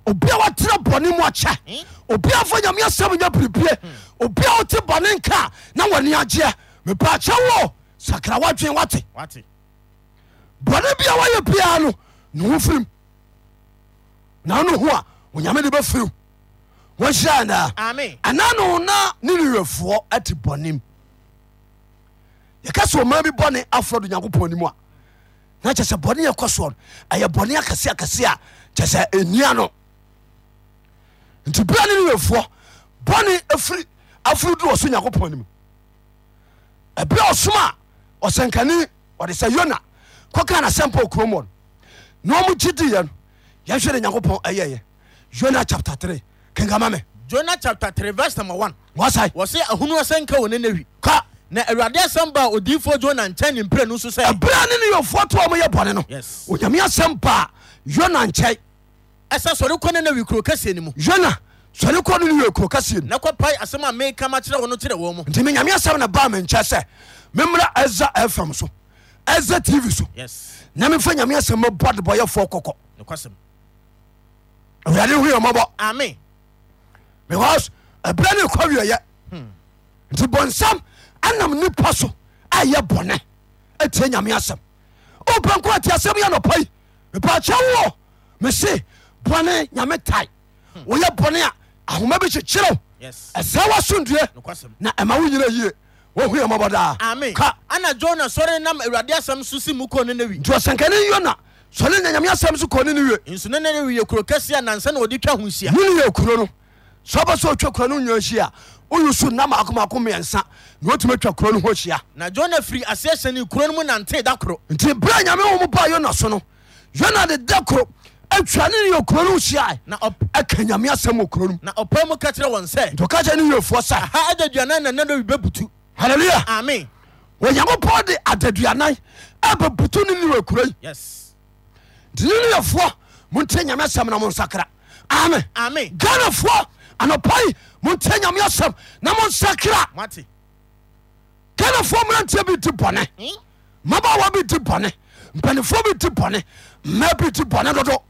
Speaker 1: obia watera bɔne mu akyɛ obia fa nyame asɛm nya piripie obia wote bɔne nka na wɔne agyeɛ mepaakyɛ wo sakra woadwen wate
Speaker 2: wate
Speaker 1: bɔne bia woayɛ biaa no ne ho firim na no ho a onyame de bɛfiriw wɔhyira daa
Speaker 2: amen
Speaker 1: ɛna no na ne nwerɛfoɔ ate bɔnem yɛka sɛ ɔma bi bɔne aforɔ do nyankopɔn anim a na kyɛ sɛ bɔne yɛkɔ soɔ no ɛyɛ bɔne akɛse akɛse a kyɛ sɛ ɛnia no nti bia ne nwerɛfoɔ bɔne afiri afiri do wɔ so nyankopɔn anim ɛberɛ ɔsom a ɔsɛnkani ɔde sɛ yona kɔka nasɛmpa okurom wɔ no na ɔmo gye diiɛ no yɛhwɛ de nyankopɔn ɛyɛyɛ yona chapter 3 kenkama me
Speaker 2: jona chapter 3 verse number 1
Speaker 1: wasae
Speaker 2: wɔse ahonu asɛ nka wɔ nanawi
Speaker 1: ka
Speaker 2: na awurade asɛm baa odiyifoɔ jona nkyɛn ne mprɛnu so sɛ
Speaker 1: ɛberɛ ne ne yɔfoɔ to a ɔmoyɛ bɔne no
Speaker 2: Yes.
Speaker 1: onyame asɛm paa yona nkyɛe
Speaker 2: ɛsɛ sɔre kɔ nanawi kuro kɛseɛ no mu
Speaker 1: yona sɔre kɔ no ne yɛ kuro kaseɛ no
Speaker 2: na kɔpae asɛm a meka makyerɛ wo no kyerɛ wɔn mu
Speaker 1: nti menyame asɛm no baa me nkyɛ sɛ memmra ɛza fm so ɛza tv so
Speaker 2: yes
Speaker 1: na memfa nyame asɛm mabɔ de bɔyɛfoɔ kɔkɔ
Speaker 2: nokwasɛm
Speaker 1: awurade hu yɛ mɔbɔ
Speaker 2: amen
Speaker 1: because ɛberɛ ne kɔ wieyɛ
Speaker 2: Hmm.
Speaker 1: nti bɔnsam anam nipa so ayɛ bɔne atie nyame asɛm opɛ nko ate asɛm yɛ nɔpa yi mepaakyɛ woɔ mese bɔne nyame tae woyɛ bɔne a ahoma bi kyekyerew
Speaker 2: Hmm. yes
Speaker 1: ɛsɛ wasomdue
Speaker 2: nokwasɛm
Speaker 1: na ɛma wo nyina yie wohu yɛ mɔbɔ daa
Speaker 2: amen
Speaker 1: ka
Speaker 2: ana jona sɔre nam awurade asɛm so si mu kɔ nanawi
Speaker 1: nti ɔsɛnkane yona sɔre nya nyame asɛm so kɔ ne ne wie
Speaker 2: nso ne nanawi yɛ kuro kɛseɛ a nansa na wɔde twa ho hyia
Speaker 1: mene yɛ kuro no sɛ wobɛ sɛ otwa kuro no nya hyi a woyu so nna maakomako mmiɛnsa na watumi atwa kuro no ho hyia
Speaker 2: na jona firi aseɛ hyɛ ne kuro no mu nantee da koro
Speaker 1: nti berɛ a nyame wo mu baa yona so no yona de da koro atwa ne ne yɛ kuro no hyiae
Speaker 2: na ɔp-
Speaker 1: ɛka nyame asɛm wɔ kuro no mu
Speaker 2: na ɔpae mu ka kyerɛ wɔn sɛ
Speaker 1: nti ɔka kyɛ ne yɛfoɔ sa
Speaker 2: ha adaduanan na nanawi bɛbutu
Speaker 1: halleluya
Speaker 2: amen
Speaker 1: onyankopɔn de adaduanan ɛbɛbutu ne ne wɔ kuro yi
Speaker 2: yes
Speaker 1: nti ne ne yɛfoɔ montie nyame asɛm na monsakra amen
Speaker 2: amen
Speaker 1: ghanafoɔ anɔpa yi montie nyame asɛm na monsakra
Speaker 2: mate
Speaker 1: ghanafoɔ mmeranteɛ bi di bɔne
Speaker 2: Hmm?
Speaker 1: mabawa bi di bɔne mpanifoɔ bi di bɔne mma bi di bɔne dodo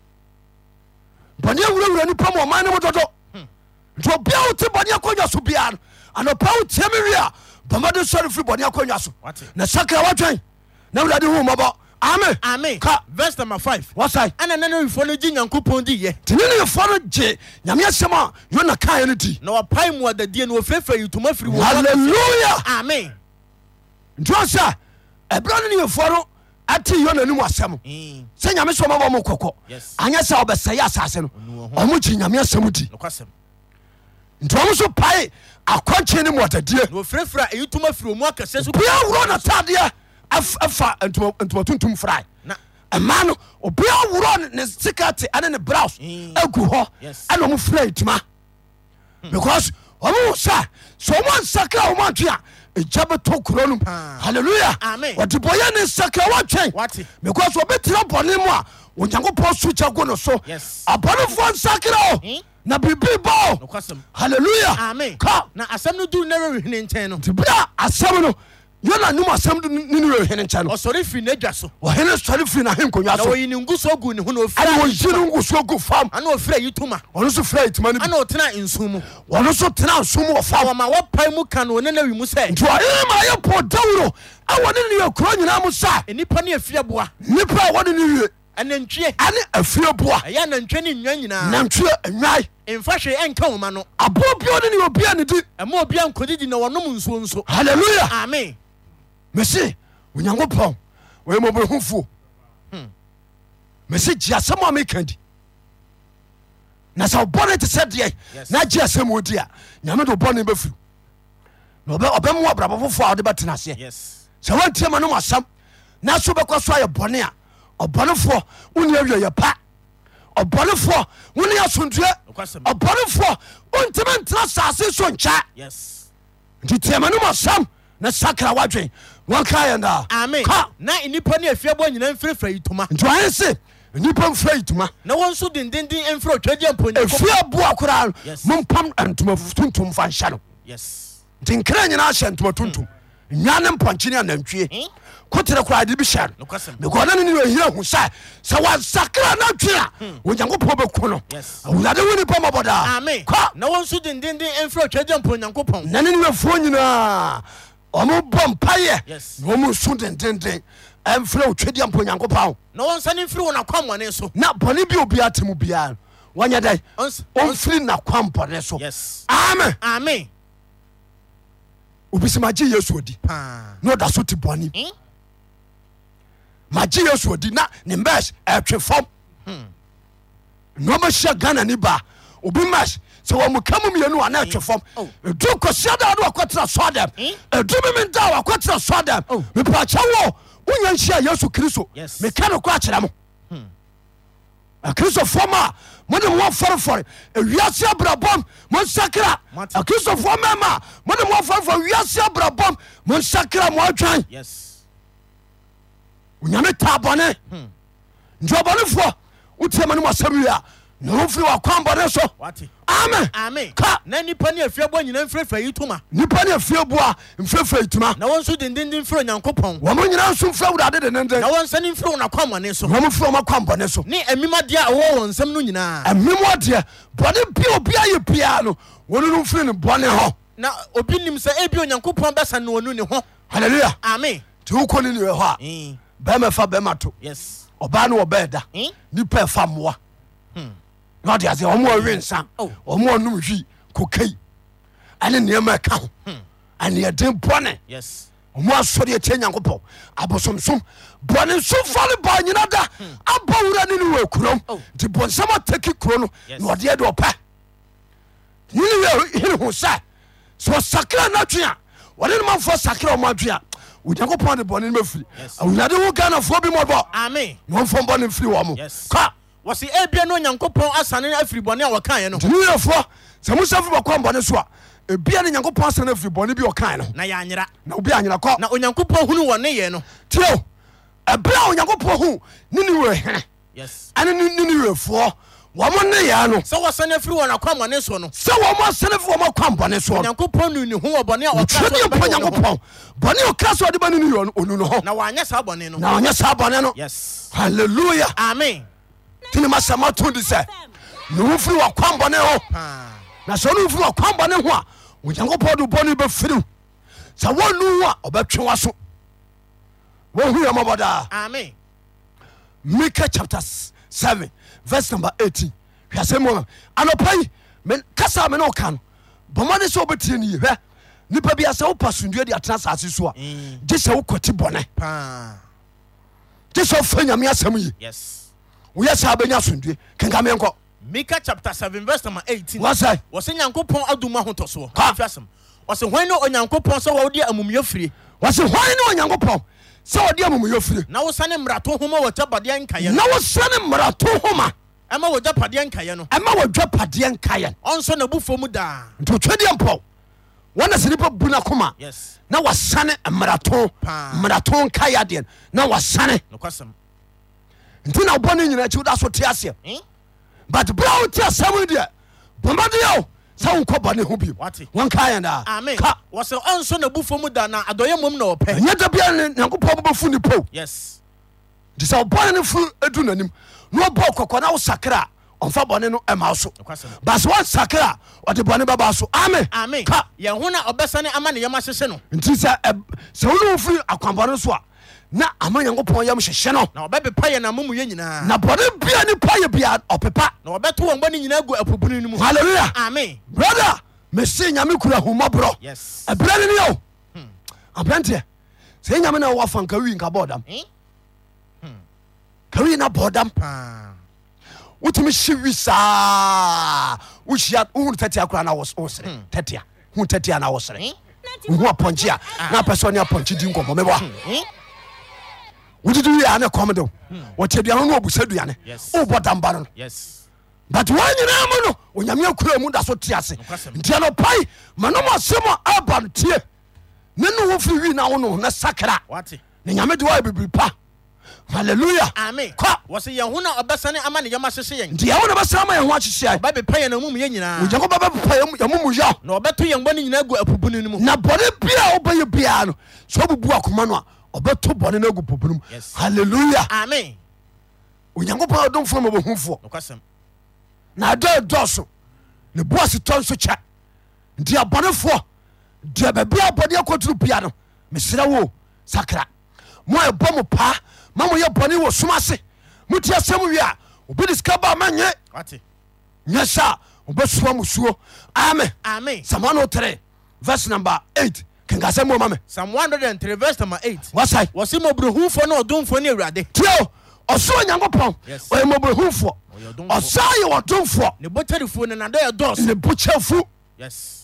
Speaker 1: bɔne awurawura nipa mu ɔman no mu dodo nti obia wo te bɔne akɔnya so biara no anɔpa wo tie me wie a bɔmmɔde sɔre firi bɔne akɔnnwa so
Speaker 2: Wate.
Speaker 1: na sakra woatwɛn na wurade hu mmɔbɔ ame
Speaker 2: ame
Speaker 1: ka
Speaker 2: vers number five
Speaker 1: wasae
Speaker 2: ɛna nanawifoɔ no gye nyankopɔn diyɛ
Speaker 1: nti ne neyɛfoɔ no gye nyame asɛm a yona kaeɛ no di
Speaker 2: na wɔpae mu adadie no wɔfirafira yitoma firi wɔ
Speaker 1: halleluya
Speaker 2: ame
Speaker 1: nti ɔ sɛ ɛberɛ no neyɛfoɔ no ate yona nim asɛm
Speaker 2: Mm,
Speaker 1: sɛ nyame sɛ ɔmabɔ mo kɔkɔ
Speaker 2: Yes.
Speaker 1: anyɛ sɛ wɔbɛsɛe asase no
Speaker 2: Ɔno wɔ hɔ.
Speaker 1: ɔmo gye nyame asɛm di
Speaker 2: nokwasɛm
Speaker 1: nti ɔmo so pae akɔnkye ne mmuɔdadie
Speaker 2: na wɔfirafira ayitoma firi wɔ mu akɛseɛ so
Speaker 1: bia worɔ natadeɛ fa ntoma tuntum frae
Speaker 2: Na-
Speaker 1: ɛma no obia worɔ ne sikate ɛne ne brows
Speaker 2: Mm.
Speaker 1: agu hɔ
Speaker 2: Yes. Hmm.
Speaker 1: ɛna ɔmo fra ntuma because ɔmo wo sɛ sɛ ɔmo ansakra ɔmo antwe a ɛgya bɛtɔ kuro no
Speaker 2: Paa.
Speaker 1: halleluya
Speaker 2: Ah. Amen.
Speaker 1: ɔde bɔyɛ ne nsakra woatwɛn
Speaker 2: Wate.
Speaker 1: because ɔbɛtira bɔne mu a onyankopɔn so gya go no so
Speaker 2: Yes.
Speaker 1: abɔnefoɔ nsakra o
Speaker 2: Mm.
Speaker 1: na biribi ba o
Speaker 2: nokwasɛm
Speaker 1: halleluya
Speaker 2: ame
Speaker 1: ka
Speaker 2: na asɛm no duru narɛwehene nkyɛn no
Speaker 1: nti bere a asɛm no yona nom asɛm do ne ne wɛhene nkyɛ no
Speaker 2: ɔsɔre firi n'adwa so
Speaker 1: ɔhene sɔre firi nahenkonwa
Speaker 2: na
Speaker 1: so
Speaker 2: ɔyi ne ngu so gu ne ho na
Speaker 1: ɛne
Speaker 2: ɔfira
Speaker 1: wɔyi no nkosuo gu fam
Speaker 2: ana ɔfira yitoma
Speaker 1: ɔno so fra atima no bi
Speaker 2: ana ɔtena nsu mu
Speaker 1: ɔno so tena nsom wɔ fam
Speaker 2: wɔma wɔpae mu ka no ɔnanawi mu sɛ
Speaker 1: nti ɔhene ma yɛ po dawuro ɛwɔ ne ne yɛkuro nyinaa mu sa
Speaker 2: nnipa ne afiaboa
Speaker 1: nnipa a wɔne ne wie
Speaker 2: anantwie
Speaker 1: ɛne afie boa
Speaker 2: ɛyɛ anantwie ne nnwa nyinaa
Speaker 1: nantwie anwae
Speaker 2: mfa hwee ɛnka woma no
Speaker 1: aboa bio ne ne obia ne di
Speaker 2: ɛma obi ankɔdidi na wɔnom nsuo nso
Speaker 1: halleluya
Speaker 2: ame
Speaker 1: mese onyankopɔn ɔyɛ mɔbɔhufuo
Speaker 2: Hmm.
Speaker 1: mese gye asɛm a meka di na sɛ wobɔne te sɛ deɛ
Speaker 2: Yes.
Speaker 1: na gye asɛm odi a nyame de wobɔne bɛfiri na ɔbɛ- ɔbɛmoa brabɔ fofoɔ a wode bɛtena aseɛ
Speaker 2: yes
Speaker 1: sɛ wantie ma no mu asɛm na so wobɛkɔ so ayɛ bɔne a ɔbɔnefoɔ wone awieyɛ pa ɔbɔnefoɔ wone asomdue
Speaker 2: Nokwasɛm.
Speaker 1: ɔbɔnefoɔ wontimi ntena asase so nkyɛ
Speaker 2: yes
Speaker 1: nti tie ma no mu asɛm na sakra woadwen wɔnka yɛ
Speaker 2: ame
Speaker 1: daa
Speaker 2: na nnipa ne afiaboa nyinaa mfirafira yitoma
Speaker 1: nti ɔhe se nnipa mfra yituma
Speaker 2: na wɔn nso dendenden mfira otwadia mpo Onyankopɔn-
Speaker 1: ɛfie boa koraa no
Speaker 2: Yes.
Speaker 1: mompam eh, ntoma tuntum fa nhyɛ no
Speaker 2: yes
Speaker 1: nti nkra nyinaa hyɛ ntoma tuntum nwa ne mpɔnkye ne anantwie
Speaker 2: Mm.
Speaker 1: kotere koraa de bi hyɛ no
Speaker 2: Nokwasɛm.
Speaker 1: because ne ne ne ɔhira hu sɛ sɛ wansakra no atwe a onyankopɔn bɛku no
Speaker 2: Hmm. Yes.
Speaker 1: awurade wo nipa mmɔbɔ daa
Speaker 2: ame
Speaker 1: Kɔ.
Speaker 2: na wɔn nso dendenden mfira otwadia mpo nyankopɔn
Speaker 1: na ne newafuo nyinaa ɔmo bɔ
Speaker 2: Yes.
Speaker 1: mpayɛ na ɔmo nsu dendenden ɛmfrɛ otwadia mpo onyankopɔn
Speaker 2: na wɔn nsa ne mfiri wɔn akwammɔne so
Speaker 1: na bɔne bi obi ate mu biara no wɔnyɛ dɛn
Speaker 2: Ɔns-
Speaker 1: ɔmfiri nakwampɔne so
Speaker 2: yes
Speaker 1: amen
Speaker 2: ame
Speaker 1: obi sɛ magye yesu odi
Speaker 2: paa
Speaker 1: na ɔda so te bɔne mu.
Speaker 2: Hmm?
Speaker 1: magye yesu odi na ne mes ɛtwe fam na ɔbɛhyia ghana ni baa obi mes sɛ wɔ muka mu mmienu a na ɛtwe fam
Speaker 2: Oh.
Speaker 1: ɛdu kɔsia da wode wakɔtena sɔ dɛm
Speaker 2: Hmm?
Speaker 1: ɛdu meme da a wakɔtena sɔ
Speaker 2: Oh.
Speaker 1: dɛm mepaakyɛ wo wonya nhyia yesu kristo
Speaker 2: Yes. Hmm.
Speaker 1: meka no kɔ akyerɛ mo akristofoɔ ma a mode mowɔfɔrefɔre awiase abrabɔm monsakra
Speaker 2: Mate.
Speaker 1: akristofoɔ ma ma a mode mowɔfɔrefɔre wiase abrabɔm monsakra moadwan
Speaker 2: yes
Speaker 1: onyame taa bɔne nti ɔbɔnefoɔ wotiama no masɛm wie a ne ho firi wakwan bɔne so
Speaker 2: wate
Speaker 1: amen
Speaker 2: ame
Speaker 1: ka
Speaker 2: na nnipa ne afiaboa nyinaa mfirafira yitoma
Speaker 1: nnipa ne afie boa mfrɛfrɛ ituma
Speaker 2: na wɔn nso dendenden mfiri onyankopɔn
Speaker 1: wɔmo nyina nso mfrɛ wurade denenden
Speaker 2: na wɔn nsa ne mfiri wɔn akwammɔne so
Speaker 1: wɔmo firi ɔma kwan bɔne so E,
Speaker 2: ne amimadeɛ a ɛwɔ wɔn nsam no nyinaa
Speaker 1: ɛmemɔ deɛ bɔne bia obia yɛ biaa no wɔno no mfiri ne bɔne hɔ
Speaker 2: na obi nim sɛ ebi onyankopɔn bɛsa no ɔnu ne ho
Speaker 1: halleluya
Speaker 2: ame
Speaker 1: nti wokɔ ne niwɛ hɔ a bɛma fa bɛma to
Speaker 2: Eh, yes
Speaker 1: ɔbaa ne wɔbɛɛ da
Speaker 2: Hmm?
Speaker 1: nipa ɛfa mmoa na ɔde aseɛ ɔmo ɔwe nsa
Speaker 2: Oh.
Speaker 1: ɔmo ɔnom hwi kokai ɛne nneɛma ɛka ho
Speaker 2: Hmm.
Speaker 1: ɛneɛden bɔne
Speaker 2: yes
Speaker 1: ɔmo asɔre atie nyankopɔn abosomsom bɔne nso fa ne baa nyina da abɔ wura ne ne wɔ
Speaker 2: Hmm. Oh.
Speaker 1: akurom nti bɔnsɛm ɔtaki kuro no
Speaker 2: Yes.
Speaker 1: na ɔdeɛ de ɔpɛ ne ne wɛ hene ho sɛ sɛ ɔsakra no atwe a ɔne ne mamfoɔ sakra ɔmo atwe a onyankopɔn de bɔne no mafiri
Speaker 2: Yes.
Speaker 1: awurade wo ghanafoɔ bi mɔbɔ
Speaker 2: ame
Speaker 1: na ɔmfɔ mbɔ ne mfiri wɔ mo
Speaker 2: Yes.
Speaker 1: ka
Speaker 2: wɔsi ebia no "Eh, onyankopɔn asane afiri bɔne a wɔkaeɛ no ho
Speaker 1: ntinewerɛfoɔ sɛ mosa firi bɔkɔ mbɔne so a ebia ne nyankopɔn asane afiri bɔne bi ɔkae no ho.
Speaker 2: na yɛanyera
Speaker 1: na obi anyera kɔ
Speaker 2: na onyankopɔn hunu wɔn nneyɛɛ no
Speaker 1: tio e ɛberɛ a onyankopɔn hu ne ne werɛ hene
Speaker 2: yes
Speaker 1: ɛne ne ne werɛfoɔ wɔmo nneyɛɛ no
Speaker 2: sɛ wɔsane afiri wɔn akwammɔne so no
Speaker 1: sɛ wɔmo asane fi wɔmɔ kwa mbɔne soɔ no
Speaker 2: onyankopɔn nu ne ho wɔ bɔne a ɔkaa so
Speaker 1: ɔtwerɛdeɛ
Speaker 2: ɔde
Speaker 1: mpa
Speaker 2: bɛyɛ wɔn ho.
Speaker 1: nyankopɔn bɔne a ɔkra sɛ ɔde ba ne ne werɛ no onu no ho
Speaker 2: na wɔanyɛ saa bɔne no
Speaker 1: na ɔnyɛ saa bɔne no
Speaker 2: yes
Speaker 1: halleluya
Speaker 2: ame
Speaker 1: tini masɛm ato di sɛ ne wo firi wɔkwa mbɔne ho
Speaker 2: paa
Speaker 1: na sɛ ɔne mfiri ɔkwan bɔne ho a onyankopɔn de bɔne bɛfiri wo sɛ wonu wo a ɔbɛtwe wa so wohu yɛmɔbɔ daa
Speaker 2: amen
Speaker 1: mika chapter s- 7 verse number 18 hwɛsɛ mu anɔpa yi me- kasa a me ne woka no bɔmmɔne sɛ wobɛtie no yihwɛ nipa bia sɛ wopa somdua de atena asase so a
Speaker 2: Mm.
Speaker 1: gye sɛ wokɔti bɔne
Speaker 2: paa
Speaker 1: gye sɛ wofa nyame asɛm yi
Speaker 2: yes
Speaker 1: woyɛ saa bɛnya asomdue kenkameɛnkɔ
Speaker 2: mika chapter 7 verse number 18
Speaker 1: wasɛ
Speaker 2: wɔsɛ nyankopɔn adom ahotɔsoɔ
Speaker 1: Ha.
Speaker 2: Ɛmfi asɛm ɔsɛ hwan ne onyankopɔn sɛ wɔwode amumuyɛ fire
Speaker 1: wɔse hwan ne onyankopɔn sɛ wɔde amumuyɛ fire
Speaker 2: na wosane mmarato homa wɔgyapadeɛ nkaeɛ no
Speaker 1: na wosane mmarato homa
Speaker 2: ɛma wɔgyapadeɛ nkaeɛ no
Speaker 1: ɛma wɔdwa padeɛ nkayɛ
Speaker 2: ɔnsɔ n'abufuo mu daa
Speaker 1: nti otwadeɛ mpɔ wɔna sɛ nipa bu no koma
Speaker 2: yes
Speaker 1: na wasane mmarato
Speaker 2: Paa.
Speaker 1: mmarato nkayɛ adeɛ no, na wasane
Speaker 2: nokwasɛm
Speaker 1: nti na wobɔ ne nyina akyi woda so te aseɛ
Speaker 2: Hmm?
Speaker 1: but berɛ a wote asɛm yi deɛ bɔmadeɛ o sɛ wonkɔ bɔne ho bio
Speaker 2: Wate.
Speaker 1: wɔnkayɛ daa
Speaker 2: amen
Speaker 1: ah. ka
Speaker 2: wɔsɛ ɔnsɔ n'abufuo mu daa na adɔyɛ mmom na ɔpɛ
Speaker 1: ɛnyɛ da bia ne nyankopɔn bɛbɛfu nipa o
Speaker 2: yes
Speaker 1: nti sɛ ɔbɔne no fo adu n'anim na ɔbɔ kɔkɔ na wosakra a ɔmfa bɔne no ɛma wo so
Speaker 2: nokwasɛm
Speaker 1: but sɛ woasakra a ɔde bɔne bɛba wo so amen
Speaker 2: amen
Speaker 1: ka
Speaker 2: yɛn ho na ɔbɛsane ama ne yɛma hyehyɛ no
Speaker 1: nti sɛ ɛb- sɛ wone wofiri akwanbɔne so a na ama nyankopɔn yam hyehyɛ no
Speaker 2: na ɔbɛbepa yɛ n'amumuyɛ nyinaa
Speaker 1: na bɔne bia nipa yɛ bia ɔpepa
Speaker 2: na wɔbɛto wɔn bɔne nyinaa gu apubunu no mu
Speaker 1: halleluya
Speaker 2: amen
Speaker 1: brada mese nyame kura homɔborɔ
Speaker 2: yes
Speaker 1: ɛbrɛ ne ne o abrɛnteɛ sɛ e nyame na wɔfa nka wii nka bɔɔdam
Speaker 2: Hmm?
Speaker 1: kawii na bɔɔdam
Speaker 2: paa
Speaker 1: wotumi hye wi saa wohyia wohunu tatia kora na wos- wosere tatia hu tatia na wosere
Speaker 2: Hmm?
Speaker 1: wohu apɔnkye a na apɛ sɛ ɔne apɔnkye di nkɔmmɔ mebɔa
Speaker 2: Hmm?
Speaker 1: wodidi wie a ne kɔm de wo wɔte aduane no wɔbusa aduane
Speaker 2: Yes.
Speaker 1: wobɔ damba no no
Speaker 2: yes
Speaker 1: but wɔn nyinaa mu no onyame akura mu da so te ase
Speaker 2: Nokwasɛm.
Speaker 1: nti anɔpai manom asɛm a aba no tie ne ne wo firi wi na wo no ne sakra
Speaker 2: wate
Speaker 1: ne nyame de woayɛ bibiri pa halleluya
Speaker 2: amen
Speaker 1: Kɔ.
Speaker 2: wɔsɛ yɛn ho na ɔbɛsane ama ne yɛma hyehyɛ yɛn
Speaker 1: nti yɛwo ne bɛsra ma yɛ ho akyehyeɛ
Speaker 2: ɔbɛbepa yɛn amumuyɛ nyinaa
Speaker 1: onyankopɔn bɛpepa yɛmomuyɛ
Speaker 2: na ɔbɛto yɛn bɔne nyinaa gu apubunu no mu
Speaker 1: na bɔne bia a wobɛyɛ biaa no sɛ wobubu akoma no a ɔbɛto bɔne no agu poponom
Speaker 2: Yes.
Speaker 1: halleluya
Speaker 2: amen
Speaker 1: onyankopɔn adomfoɔ ma bɛhumfoɔ
Speaker 2: nokwasɛm
Speaker 1: na ɛdɔ ɛdɔɔso ne boase tɔ nso kyɛ nti abɔnefoɔ deɛ baabi a bɔne akɔtoro bia no meserɛ wo o, sakra mo a ɛbɔ mo paa ma moyɛ bɔne wɔ som ase motie asɛm wie a obi de sika ba a manyɛ
Speaker 2: wate
Speaker 1: nyɛ sɛ a wobɛsua mo suo ame
Speaker 2: amen
Speaker 1: samano 3 vers number 8 kenka sɛ moma me
Speaker 2: psalm 103 verse number 8
Speaker 1: wasae
Speaker 2: wɔse mmɔborɔhufoɔ ne ɔdomfoɔ ne awurade
Speaker 1: tio ɔsoro nyankopɔn
Speaker 2: Yes.
Speaker 1: ɔyɛ mmɔborɔhumfoɔ
Speaker 2: Ɔyɛ ɔdomfoɔ.
Speaker 1: ɔsa yɛ wɔdomfoɔ
Speaker 2: ne botarifoɔ ne nadɔyɛ dɔɔso
Speaker 1: ne bokyɛfu
Speaker 2: yes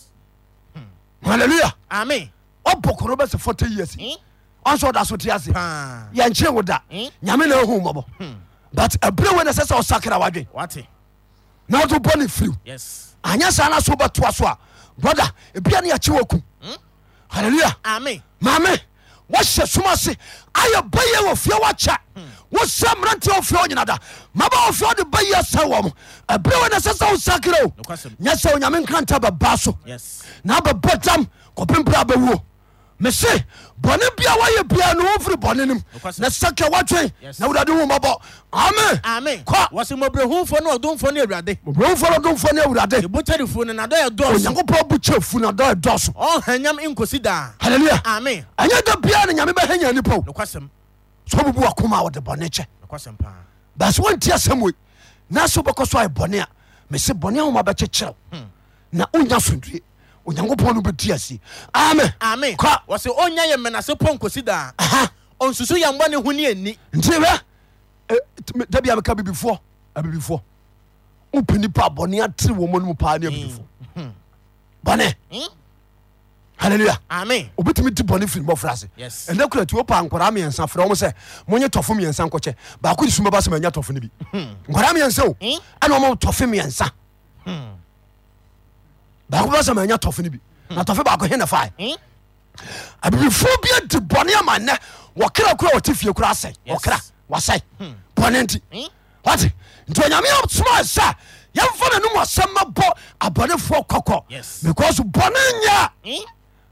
Speaker 1: halleluya
Speaker 2: amen
Speaker 1: ɔbɔ koro bɛsɛ 40 years
Speaker 2: Hmm?
Speaker 1: ɔnso ɔda so te ase
Speaker 2: paa
Speaker 1: yɛnkyee wo da
Speaker 2: Hmm.
Speaker 1: nyame na ahu wo mmɔbɔ but ɛberɛ wei na ɛsɛ sɛ ɔsakra wadwen
Speaker 2: wate
Speaker 1: na wode bɔne firiw
Speaker 2: yes
Speaker 1: anyɛ saa na so wobɛtoa so a brɔda ebia ne yɛkye wɔ ku
Speaker 2: Hmm?
Speaker 1: halleluya
Speaker 2: amen
Speaker 1: maame wɔhyɛ som ase ayɛ bɛyɛ wɔ fie wɔkyɛ
Speaker 2: Hmm.
Speaker 1: wosɛ mmeranteɛ wɔ fie ɔnyina da maba wɔ fie wode bɛyɛ sɛ wɔ m ɛberɛ wei na ɛsɛ sɛ wo sakra o
Speaker 2: Nokwasɛm.
Speaker 1: nyɛ sɛ onyame nkranta bɛba so
Speaker 2: yes
Speaker 1: na bɛbɔ dam kɔpempra bɛwuo mese bɔne bia woayɛ bia no womfiri bɔne nim
Speaker 2: Nokwasɛm.
Speaker 1: na sɛkɛ woatwen
Speaker 2: Yes. Ah.
Speaker 1: na wurade wo mɔbɔ ame
Speaker 2: amen
Speaker 1: kɔ
Speaker 2: wɔse mmɔborɔhufoɔ ne ɔdomfoɔ ne awurade
Speaker 1: brɛmfoɔ no domfoɔ ne
Speaker 2: ne
Speaker 1: awurade
Speaker 2: botarifoɔ ne nadɔyɛ dɔɔso
Speaker 1: onyankopɔn bo kyɛ fu na dɔ ɛdɔ so
Speaker 2: ɔhanyam nkosi daa
Speaker 1: halleluya
Speaker 2: amen
Speaker 1: ɛnyɛ da bia ne nyame bɛhanya nipa o
Speaker 2: nokwasɛm
Speaker 1: sɛ wobubu wakoma a wɔde bɔne kyɛ
Speaker 2: nokwasɛm paa
Speaker 1: bɛsɛ wonti asɛm wei na sɛ wobɛkɔ so ayɛ bɔne a mese bɔne ahoma bɛkyekyerɛw na wonya sondue onyankopɔn no bɛdi asie ame
Speaker 2: amen
Speaker 1: Kɔ.
Speaker 2: wɔse ɔnya yɛ mmanase pɔ nkosi daa
Speaker 1: Aha.
Speaker 2: ɔnsusu yɛn bɔne ho ne ani
Speaker 1: nti bɛ da bia meka bibifoɔ abibifoɔ wopɛ nipa a bɔne atere wɔ mɔno mu paa ne abibifoɔ
Speaker 2: Mm.
Speaker 1: bɔne
Speaker 2: Hmm?
Speaker 1: halleluya
Speaker 2: amen
Speaker 1: obɛtumi di bɔne firi mmɔfra ase
Speaker 2: Yes.
Speaker 1: ɛnɛ kura ti wopa nkwaraa miɛnsa frɛ wɔm sɛ monyɛ tɔfo miɛnsa nkɔkyɛ baako de suma ba sɛ manya tɔfo no bi nkwaraa miɛnsa o
Speaker 2: Hmm.
Speaker 1: ɛna ɔma tɔfe miɛnsa baako ba sɛ manya tɔfo no bi na tɔfe baako he ne fae
Speaker 2: Hmm?
Speaker 1: abibifoɔ bi adi bɔne ama nnɛ wɔkra kora wɔte fie kora asɛe
Speaker 2: Yes.
Speaker 1: wɔkra wasɛe bɔne nti
Speaker 2: Hmm?
Speaker 1: wate nti onyame soma sɛ yɛmfa nanom asɛm mabɔ abɔnefoɔ
Speaker 2: Yes.
Speaker 1: kɔkɔ because bɔne nyɛ
Speaker 2: Hmm?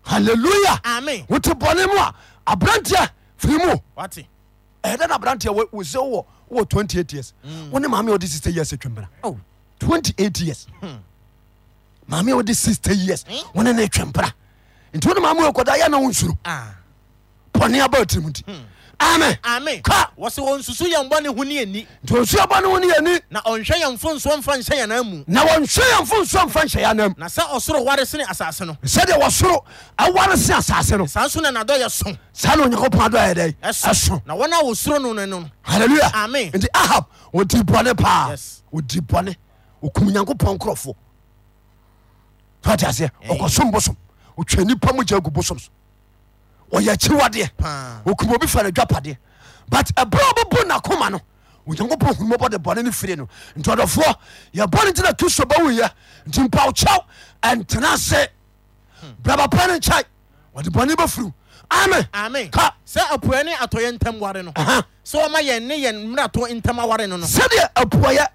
Speaker 1: halleluya
Speaker 2: amen
Speaker 1: wote bɔne mu a aberanteɛ firi mu
Speaker 2: wate
Speaker 1: ɛyɛdɛ no aberanteɛ wo- wo sɛ wowɔ wowɔ
Speaker 2: Hmm.
Speaker 1: 28 years wo ne maame a ɔde 60 years atwambra
Speaker 2: Oh.
Speaker 1: 28 years maame a wode 60 years
Speaker 2: Hmm?
Speaker 1: wone ne twe mpra nti wone maame wɔkɔda yɛ na wo nsuro bɔne aba tirim nti
Speaker 2: Hmm.
Speaker 1: amen
Speaker 2: ame
Speaker 1: Ka!
Speaker 2: wɔse wɔnsusu yɛn bɔne ho ne ani
Speaker 1: nti ɔnsuo bɔ ne wo ne yɛni
Speaker 2: na ɔnhwɛ yɛn mfonsoɔ mfa nhyɛ yɛn amu
Speaker 1: na wɔnhwɛ yɛmfo nsuo mfa nhyɛ yɛ anam
Speaker 2: na sɛ ɔsoro ware sene asase no
Speaker 1: sɛdeɛ wɔsoro aware se asase no
Speaker 2: saa nso na nadɔyɛ so
Speaker 1: saa na onyankopɔn adɔ ayɛ dɛ
Speaker 2: ɛso
Speaker 1: ɛso
Speaker 2: na wɔn a wɔsuro no no no
Speaker 1: halleluya
Speaker 2: Amen.
Speaker 1: nti ahab ɔdi bɔne paa
Speaker 2: Yes.
Speaker 1: ɔdi bɔne ɔkum nyankopɔn nkurɔfoɔ fati aseɛ ɔkɔsom bosom ɔtwa nipa mu gya agu bosom so ɔyɛ akyiwadeɛ
Speaker 2: Paa.
Speaker 1: ɔkum obi fa no adwapadeɛ but ɛberɛ a ɔbɛbu nakoma no onyankopɔn hunumɔbɔ de bɔne no firi no nti ɔdɔfoɔ yɛbɔne nti na kristo bɛwuyɛ nti mpawkyɛw ɛntena ase braba pa no nkyɛe ɔde bɔne bɛfiriw
Speaker 2: ame
Speaker 1: amen ka
Speaker 2: sɛ apuɛ ne atɔyɛ ntam ware no
Speaker 1: Aha.
Speaker 2: sɛ wɔma yɛn ne yɛn mmarato ntam aware no no
Speaker 1: sɛdeɛ apuayɛ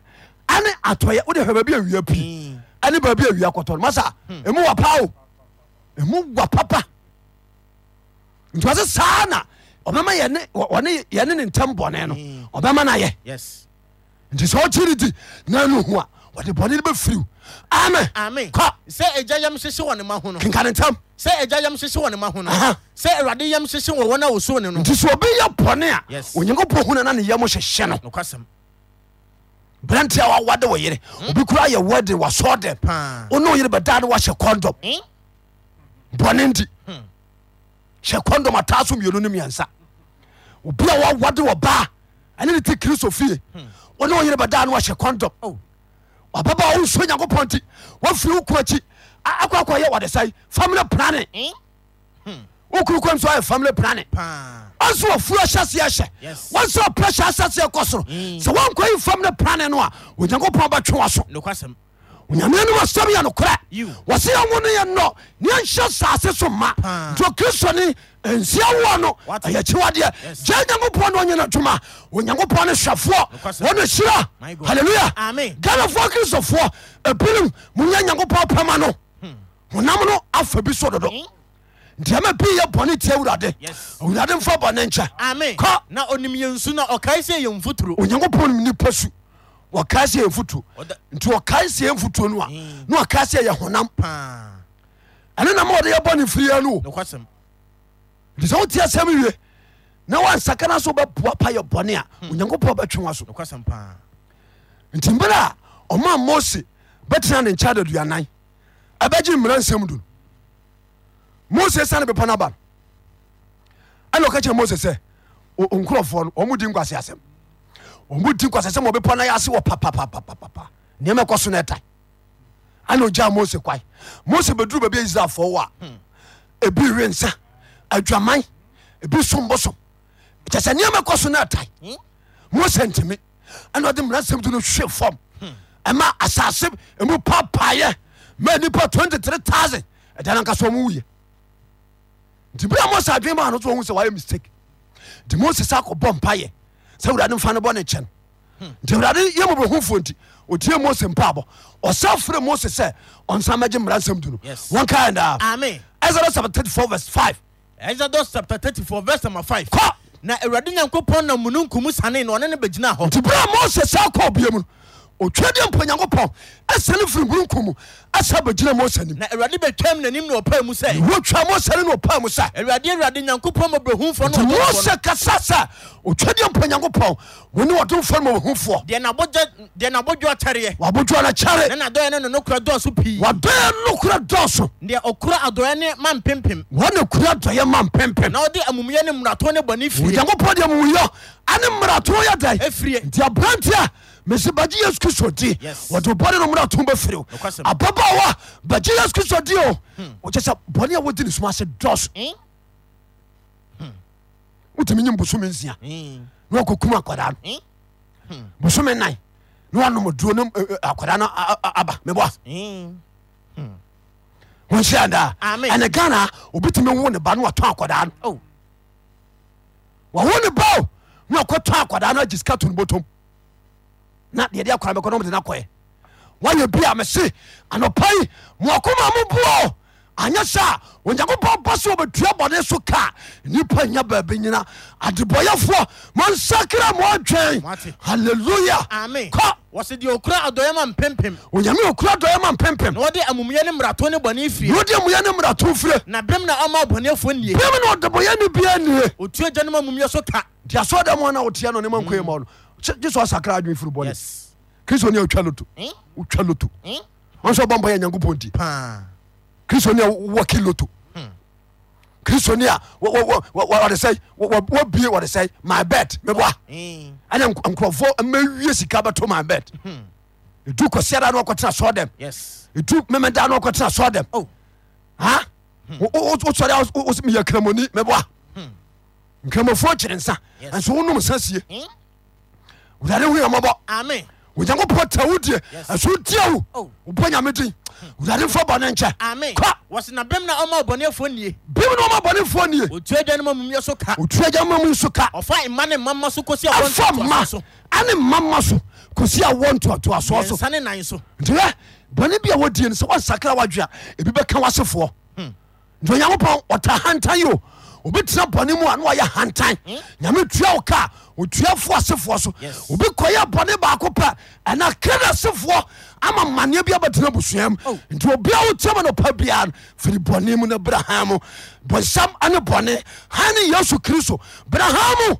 Speaker 1: ane atɔyɛ wode hwɛ baabi awia pii ane baabi awia kɔtɔ no masa ɛmu wa pa o ɛmu wa papa nti ɔse saa na ɔbɛma yɛne wɔ- wɔne- yɛne ne ntam bɔne no ɔbɛma no ayɛ
Speaker 2: yes
Speaker 1: nti sɛ ɔkye no di na no hu a wɔde bɔne no bɛfiriw amen
Speaker 2: ame
Speaker 1: kɔ
Speaker 2: sɛ agya yam hyehye wɔ ne ma ho no
Speaker 1: kenka ne ntam
Speaker 2: sɛ agya yam hyehye wɔ ne ma ho no
Speaker 1: Aha.
Speaker 2: sɛ awurade yam hyehye wɔ wɔn a wɔsuro ne no
Speaker 1: nti sɛ ɔbɛyɛ bɔne a
Speaker 2: Yes. Hmm.
Speaker 1: onyankopɔn hu no na ne yɛ mo hyehyɛ no
Speaker 2: nokwasɛm
Speaker 1: berante a wawade wo yere obi kora ayɛ wade wasɔɔ
Speaker 2: Paa.
Speaker 1: dɛm wo ne wo yere bɛdaa ne wahyɛ kɔndɔm bɔne nti hyɛ kɔndɔm ataa so mmienu no mmiɛnsa obi a wawade wɔ baa ɛne ne te kristo fie wone wo yere bɛdaa no wahyɛ kɔndɔm
Speaker 2: Oh.
Speaker 1: wababa wo nsuo nyankopɔn nti wafiri wo kuro akyi A- akɔ akɔ yɛ wɔde sɛe family plane wo kuru kɔ nso ayɛ family plane
Speaker 2: paa
Speaker 1: ɔnso wɔfuro ahyɛseɛ hyɛ
Speaker 2: Yes. Mm.
Speaker 1: wɔnso ɔprɛhyɛ ahyɛseɛ kɔ soro sɛ woankɔyi family plane no a onyankopɔn bɛtwe wa so
Speaker 2: nokwasɛm
Speaker 1: onyame no wasɛm yɛ
Speaker 2: You.
Speaker 1: nokorɛ wɔse yɛwo no yɛnnɔ ne yɛnhyɛ sase so ma
Speaker 2: Paa.
Speaker 1: nti ɔkristo ne nsia woɔ no
Speaker 2: What?
Speaker 1: ɛyɛ kyiwadeɛ
Speaker 2: Yes.
Speaker 1: gya nyankopɔn ne ɔnyɛ no adwuma onyankopɔn ne hwɛfoɔ
Speaker 2: Nokwasɛm.
Speaker 1: wɔne hyira
Speaker 2: My God.
Speaker 1: halleluya
Speaker 2: Amen.
Speaker 1: ghanafoɔ kristofoɔ ebinom monyɛ nyankopɔn pɛma no
Speaker 2: Hmm.
Speaker 1: honam no afa bi so dodo nti ɛma pii yɛ bɔne tia awurade
Speaker 2: Yes.
Speaker 1: awurade mfa bɔne nkyɛ
Speaker 2: ame
Speaker 1: kɔ
Speaker 2: na onim yɛn su na ɔkae sɛ yɛn mfuturo
Speaker 1: onyankopɔn nim nipa su wɔkae sɛ yɛ mfotuo
Speaker 2: Ɔda-
Speaker 1: nti wɔkae sɛ yɛ mfotuo no a
Speaker 2: Mm.
Speaker 1: na wɔkae sɛ yɛ honam
Speaker 2: paa
Speaker 1: ɛne na ma wɔde yɛbɔ ne firiya no o
Speaker 2: nokwasɛm
Speaker 1: nti sɛ wotie asɛm wie na woansakana so wobɛboa pa yɛ bɔne a onyankopɔn bɛtwe wa so
Speaker 2: nokwasɛm paa
Speaker 1: nti mbere a ɔma mose bɛtena ne nkyɛ adaduanan ɛbɛgye mmara nsɛm du no mose sane bepɔ no aba no ɛne ɔka kyerɛ mose sɛ o- o nkurɔfoɔ no ɔmudi nkwase asɛm ɔmudi nkwase sɛ ma ɔbepɔ no yɛ ase wɔ papapapapapa nneɛma ɛkɔ so no ɛtae ɛne ɔgyaa mose kwae mose bɛduru baabi a israelfoɔ wɔ a ebi we nsa adwaman ebi sombosom kyɛ sɛ nneɛma ɛkɔ so no ɛtae mose ntimi ɛna ɔde mmara nsɛm to no hwe fam ɛma asase mu papaeɛ ma nipa 23000 ɛda no nkasa ɔmo wuyɛ nti bere a mose adwene maa no so ɔhu sɛ wayɛ mistake nti mose sa akɔbɔ mpayɛ sɛ awurade mfa no bɔ ne nkyɛ no nti awurade yɛ mɔbrɛhofoɔ nti ɔtie mose mpaabɔ ɔsa frɛ mose sɛ ɔnsa magye mmara nsɛm to no
Speaker 2: Yes.
Speaker 1: wɔnkaɛ daa
Speaker 2: ame
Speaker 1: exodus chapter 34 verse 5
Speaker 2: exodus chapter 34 verse number 5
Speaker 1: Kɔ!
Speaker 2: na awurade nyankopɔn na mununkum sane na ɔne ne bɛgyinaa hɔ
Speaker 1: nti berɛ a mose saa kɔ bia mu no ɔtwa deɛ mpa nyankopɔn ɛsɛne firi nkurunkum mu asa bɛgyina mose anim
Speaker 2: na awurade bɛtwam n'anim na ɔpaa mu sɛ
Speaker 1: wɔtwa mose ne na ɔpaa mu sa
Speaker 2: awurade awurade nyankopɔn mɔbrɛhumfoɔ
Speaker 1: nti
Speaker 2: no ɔdɔfoɔ no,
Speaker 1: mose kasa sɛ ɔtwa deɛ mpa nyankopɔn wɔne wɔdomfoɔ no ma wɔhumfoɔ
Speaker 2: deɛ n'abɔgya- deɛ n'abɔdwo atɛreɛ
Speaker 1: wɔabodwoa no kyare
Speaker 2: na nadɔyɛ no ne nokora dɔɔso pii
Speaker 1: wɔdɔyɛ nokora dɔɔso
Speaker 2: deɛ ɔkora adɔeɛ ne ma mpempem
Speaker 1: wɔne kura dɔyɛ ma mpempem
Speaker 2: na ɔde amumuyɛ ne mmarato ne bɔne firi
Speaker 1: onyankopɔn deɛ mowuyɔ ane mmarato yɛ dae
Speaker 2: Ɛfirie.
Speaker 1: nti aberante a mesi bagye yesu kristo di
Speaker 2: Yes.
Speaker 1: wɔde bɔne no mmarato bɛfiriw
Speaker 2: Nokwasɛm. Hmm.
Speaker 1: ababaawa bagye yesu kristo di o wɔkyɛ sɛ bɔne a wɔdi ne som ase dɔso wotumi nye bosome nsia
Speaker 2: Eh.
Speaker 1: na wakɔkum akwadaa no bosome nan na wanom duro no eh, akwadaa no a- a- aba meboa wɔnhyia daa
Speaker 2: Amen.
Speaker 1: ɛne ghana ah, obi tumi wo ne ba no watɔn akwadaa no
Speaker 2: Oh,
Speaker 1: wawo ne ba o na wakɔtɔn akwadaa no agye sika to no bɔtom na deɛde akwara bɛkɔ no mde no akɔɛ woayɛ bi a mese anɔpa yi moakoma mo boɔ anyɛ sɛ a onyankopɔn bɔ sɛ wɔbɛtua bɔne so ka a, nnipa nya baabi nyina adebɔyɛfoɔ monsakra mo adwɛn
Speaker 2: Mo ate.
Speaker 1: halleluya
Speaker 2: Amen.
Speaker 1: kɔ
Speaker 2: wɔse deɛ ɔkura adɔeɛ ma mpempem
Speaker 1: onyame okura dɔyɛ ma
Speaker 2: na
Speaker 1: mpempem
Speaker 2: wɔde amumuyɛ ne mmarato ne bɔne
Speaker 1: na
Speaker 2: fie
Speaker 1: wode amuyɛ ne mmarato fire
Speaker 2: na bem na ɔma ɔbɔnefoɔ nie
Speaker 1: biam na ɔdebɔyɛ ne bia nie
Speaker 2: ɔtua agya no ma amumuyɛ so ka
Speaker 1: nti asɔ da mu na woteɛ no ne ma nkoɛ ma no Gye- gye sɛ ɔsakra adwen firi bɔne
Speaker 2: yes
Speaker 1: kristo ne ɔtwa loto
Speaker 2: Hmm?
Speaker 1: wotwa loto
Speaker 2: Hmm?
Speaker 1: ɔnsɛ ɔbɔmpa yɛ nyankopɔn nti
Speaker 2: paa
Speaker 1: kristo ne a wɔki loto
Speaker 2: Hmm.
Speaker 1: kristo ne a wɔ- wɔ- wɔ- wɔ- wɔde sɛ wɔbie wɔde sɛ my bet meboa
Speaker 2: Hmm.
Speaker 1: ɛne nkurɔfoɔ mawie sika bɛto my bet ɛdu kɔsiada no ɔkɔtena sɔ dɛm
Speaker 2: yes
Speaker 1: ɛdu memeda no ɔkɔtena sɔ dɛm
Speaker 2: oh
Speaker 1: Ha?
Speaker 2: Hmm.
Speaker 1: Wo- wo- wo- wosɔre a wo- wo- wos- meyɛ kramoni meboa nkramofoɔ kyere nsa
Speaker 2: Yes.
Speaker 1: ɛnso wonom nsa sie
Speaker 2: Hmm?
Speaker 1: wodade hu yɛmɔbɔ
Speaker 2: amen
Speaker 1: onyankopɔn ta wo die
Speaker 2: Yes.
Speaker 1: ɛso wotia wo
Speaker 2: Oh.
Speaker 1: wobɔ nyame din wodade mfa bɔne
Speaker 2: amen
Speaker 1: nkyɛ kɔ
Speaker 2: wɔse na bem na ɔma ɔbɔnefoɔ nie
Speaker 1: bim ne ɔma bɔnefoɔ nie
Speaker 2: ɔtua agya no ma amumuyɛ so ka
Speaker 1: otua gya ma mu nso ka
Speaker 2: ɔfa mma ne mmama so kɔsi
Speaker 1: afa ma ane mama so kosi awɔ ntoatoasoɔ so
Speaker 2: nsa ne nan so
Speaker 1: nti ɛ bɔne bi a wɔdie no sɛ wɔnsakra wadwe a ebi bɛka wasefoɔ
Speaker 2: Hmm.
Speaker 1: nti onyankopɔn ɔta hantan yi o obɛtena bɔne mu a na wayɛ hantan nyame tua wo ka a, otua fo asefoɔ so
Speaker 2: Hmm. Yes.
Speaker 1: obi kɔyɛ bɔne baako pɛ ɛna kra asefoɔ ama manneɛ bi abɛtena abusua mu
Speaker 2: Oh.
Speaker 1: nti obia wotiama no pa biaa no firi bɔne mu no bra ha mu bɔnsam ane bɔne ha ne yesu kristo bra ha mu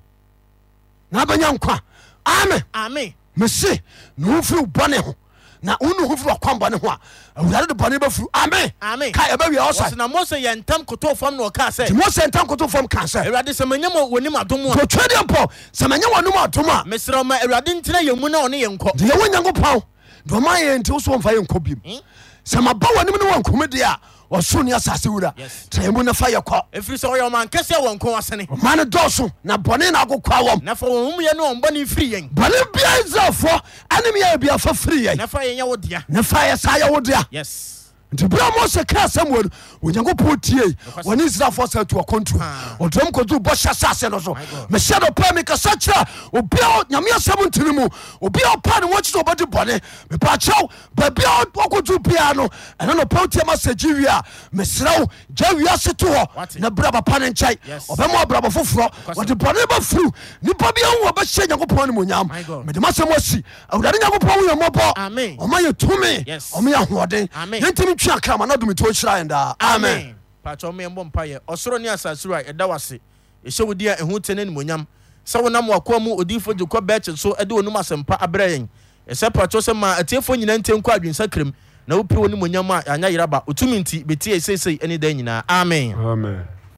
Speaker 1: na bɛnya nkwa amen
Speaker 2: amen
Speaker 1: mese na wofiri wo bɔne ho na wone ho firi wakwan bɔne ho a awurade de bɔne bɛfiri ame
Speaker 2: Amen.
Speaker 1: ka ɛbɛwie
Speaker 2: wɔse
Speaker 1: ɔsa
Speaker 2: na mose yɛ ntam kotoo fam na ɔkaa
Speaker 1: nti
Speaker 2: sɛ
Speaker 1: mose nta nkoto fam ka sɛ
Speaker 2: awurade sɛ manya ma wɔnim adom a
Speaker 1: totwa deɛ mpɔ sɛ manyɛ wɔnom adom a
Speaker 2: mesrɛ wo ma awurade ntena yɛ mu na ɔne yɛ nkɔ
Speaker 1: nti yɛwɔ nyankopɔn deɛ ɔma yɛ nti wo so wɔmfa yɛ nkɔ biom
Speaker 2: Hmm?
Speaker 1: sɛ maba w'anim ne wɔnkome deɛ a ɔsoro ne asase wura
Speaker 2: Yes.
Speaker 1: trɛ mu na fa yɛ kɔ
Speaker 2: ɛfiri sɛ ɔyɛ ɔman kɛseɛ wɔ nko asene
Speaker 1: ɔma no dɔɔso na bɔne na akokoa wɔm
Speaker 2: na fa wɔn mumuyɛ ne wɔn bɔne mfiri yɛn
Speaker 1: bɔne bia israelfoɔ anem yɛ abiafa firi yɛn
Speaker 2: na fa yɛnyɛ wo dea
Speaker 1: ne fa yɛ saa yɛwo dea
Speaker 2: yes
Speaker 1: nti bere a mose ka asɛm wɔ no onyankopɔn tie wɔne israelfoɔ sa tu ɔkɔntuo ɔdram kɔduru bɔhyɛ sase no so
Speaker 2: Ah. God.
Speaker 1: mehyɛ no pɛ mekasa kyerɛ obia a nyame asɛm ntene mu obia a ɔpa ne wɔkyi sɛ wɔbɛde bɔne mepaakyɛw baabia ɔkɔduru biaa no ɛno no pɛw tiam asɛ gye wie a mesrɛ wo gya wiase to hɔ
Speaker 2: Wate.
Speaker 1: na bra papa ne nkyɛe
Speaker 2: Yes.
Speaker 1: ɔbɛma abrabɔ foforɔ wɔde bɔne bɛfiriw nnipa bia hu wɔbɛhyɛ nyankopɔn
Speaker 2: My
Speaker 1: animonyam
Speaker 2: God.
Speaker 1: mede masɛm asi awurade nyankopɔn woyɛmmɔbɔ
Speaker 2: Amen.
Speaker 1: ɔma yɛ tumi
Speaker 2: Yes.
Speaker 1: ɔma yɛ ahoɔden
Speaker 2: Amen.
Speaker 1: yɛntimi twe akrama na domete ɔhyira yɛn daa amen
Speaker 2: pakyɛ ɔma yɛmbɔ mpayɛ ɔsoro ne asase wura ɛda wo ase ɛhyɛ wo di a ɛho te ne animonyam sɛ wonam wakoa mu odiyifoɔ gyekɔ bɛkye so de wɔnom asɛmpa abrɛ yɛn ɛsɛ pakyɛ sɛ ma atiefoɔ nyina ntie nkɔ adwensa kram na wopiri wo nimonyam a ɛanyɛ yeraba ɔtumi nti bɛtie ɛseisei ɛne da nyinaa amen
Speaker 3: amen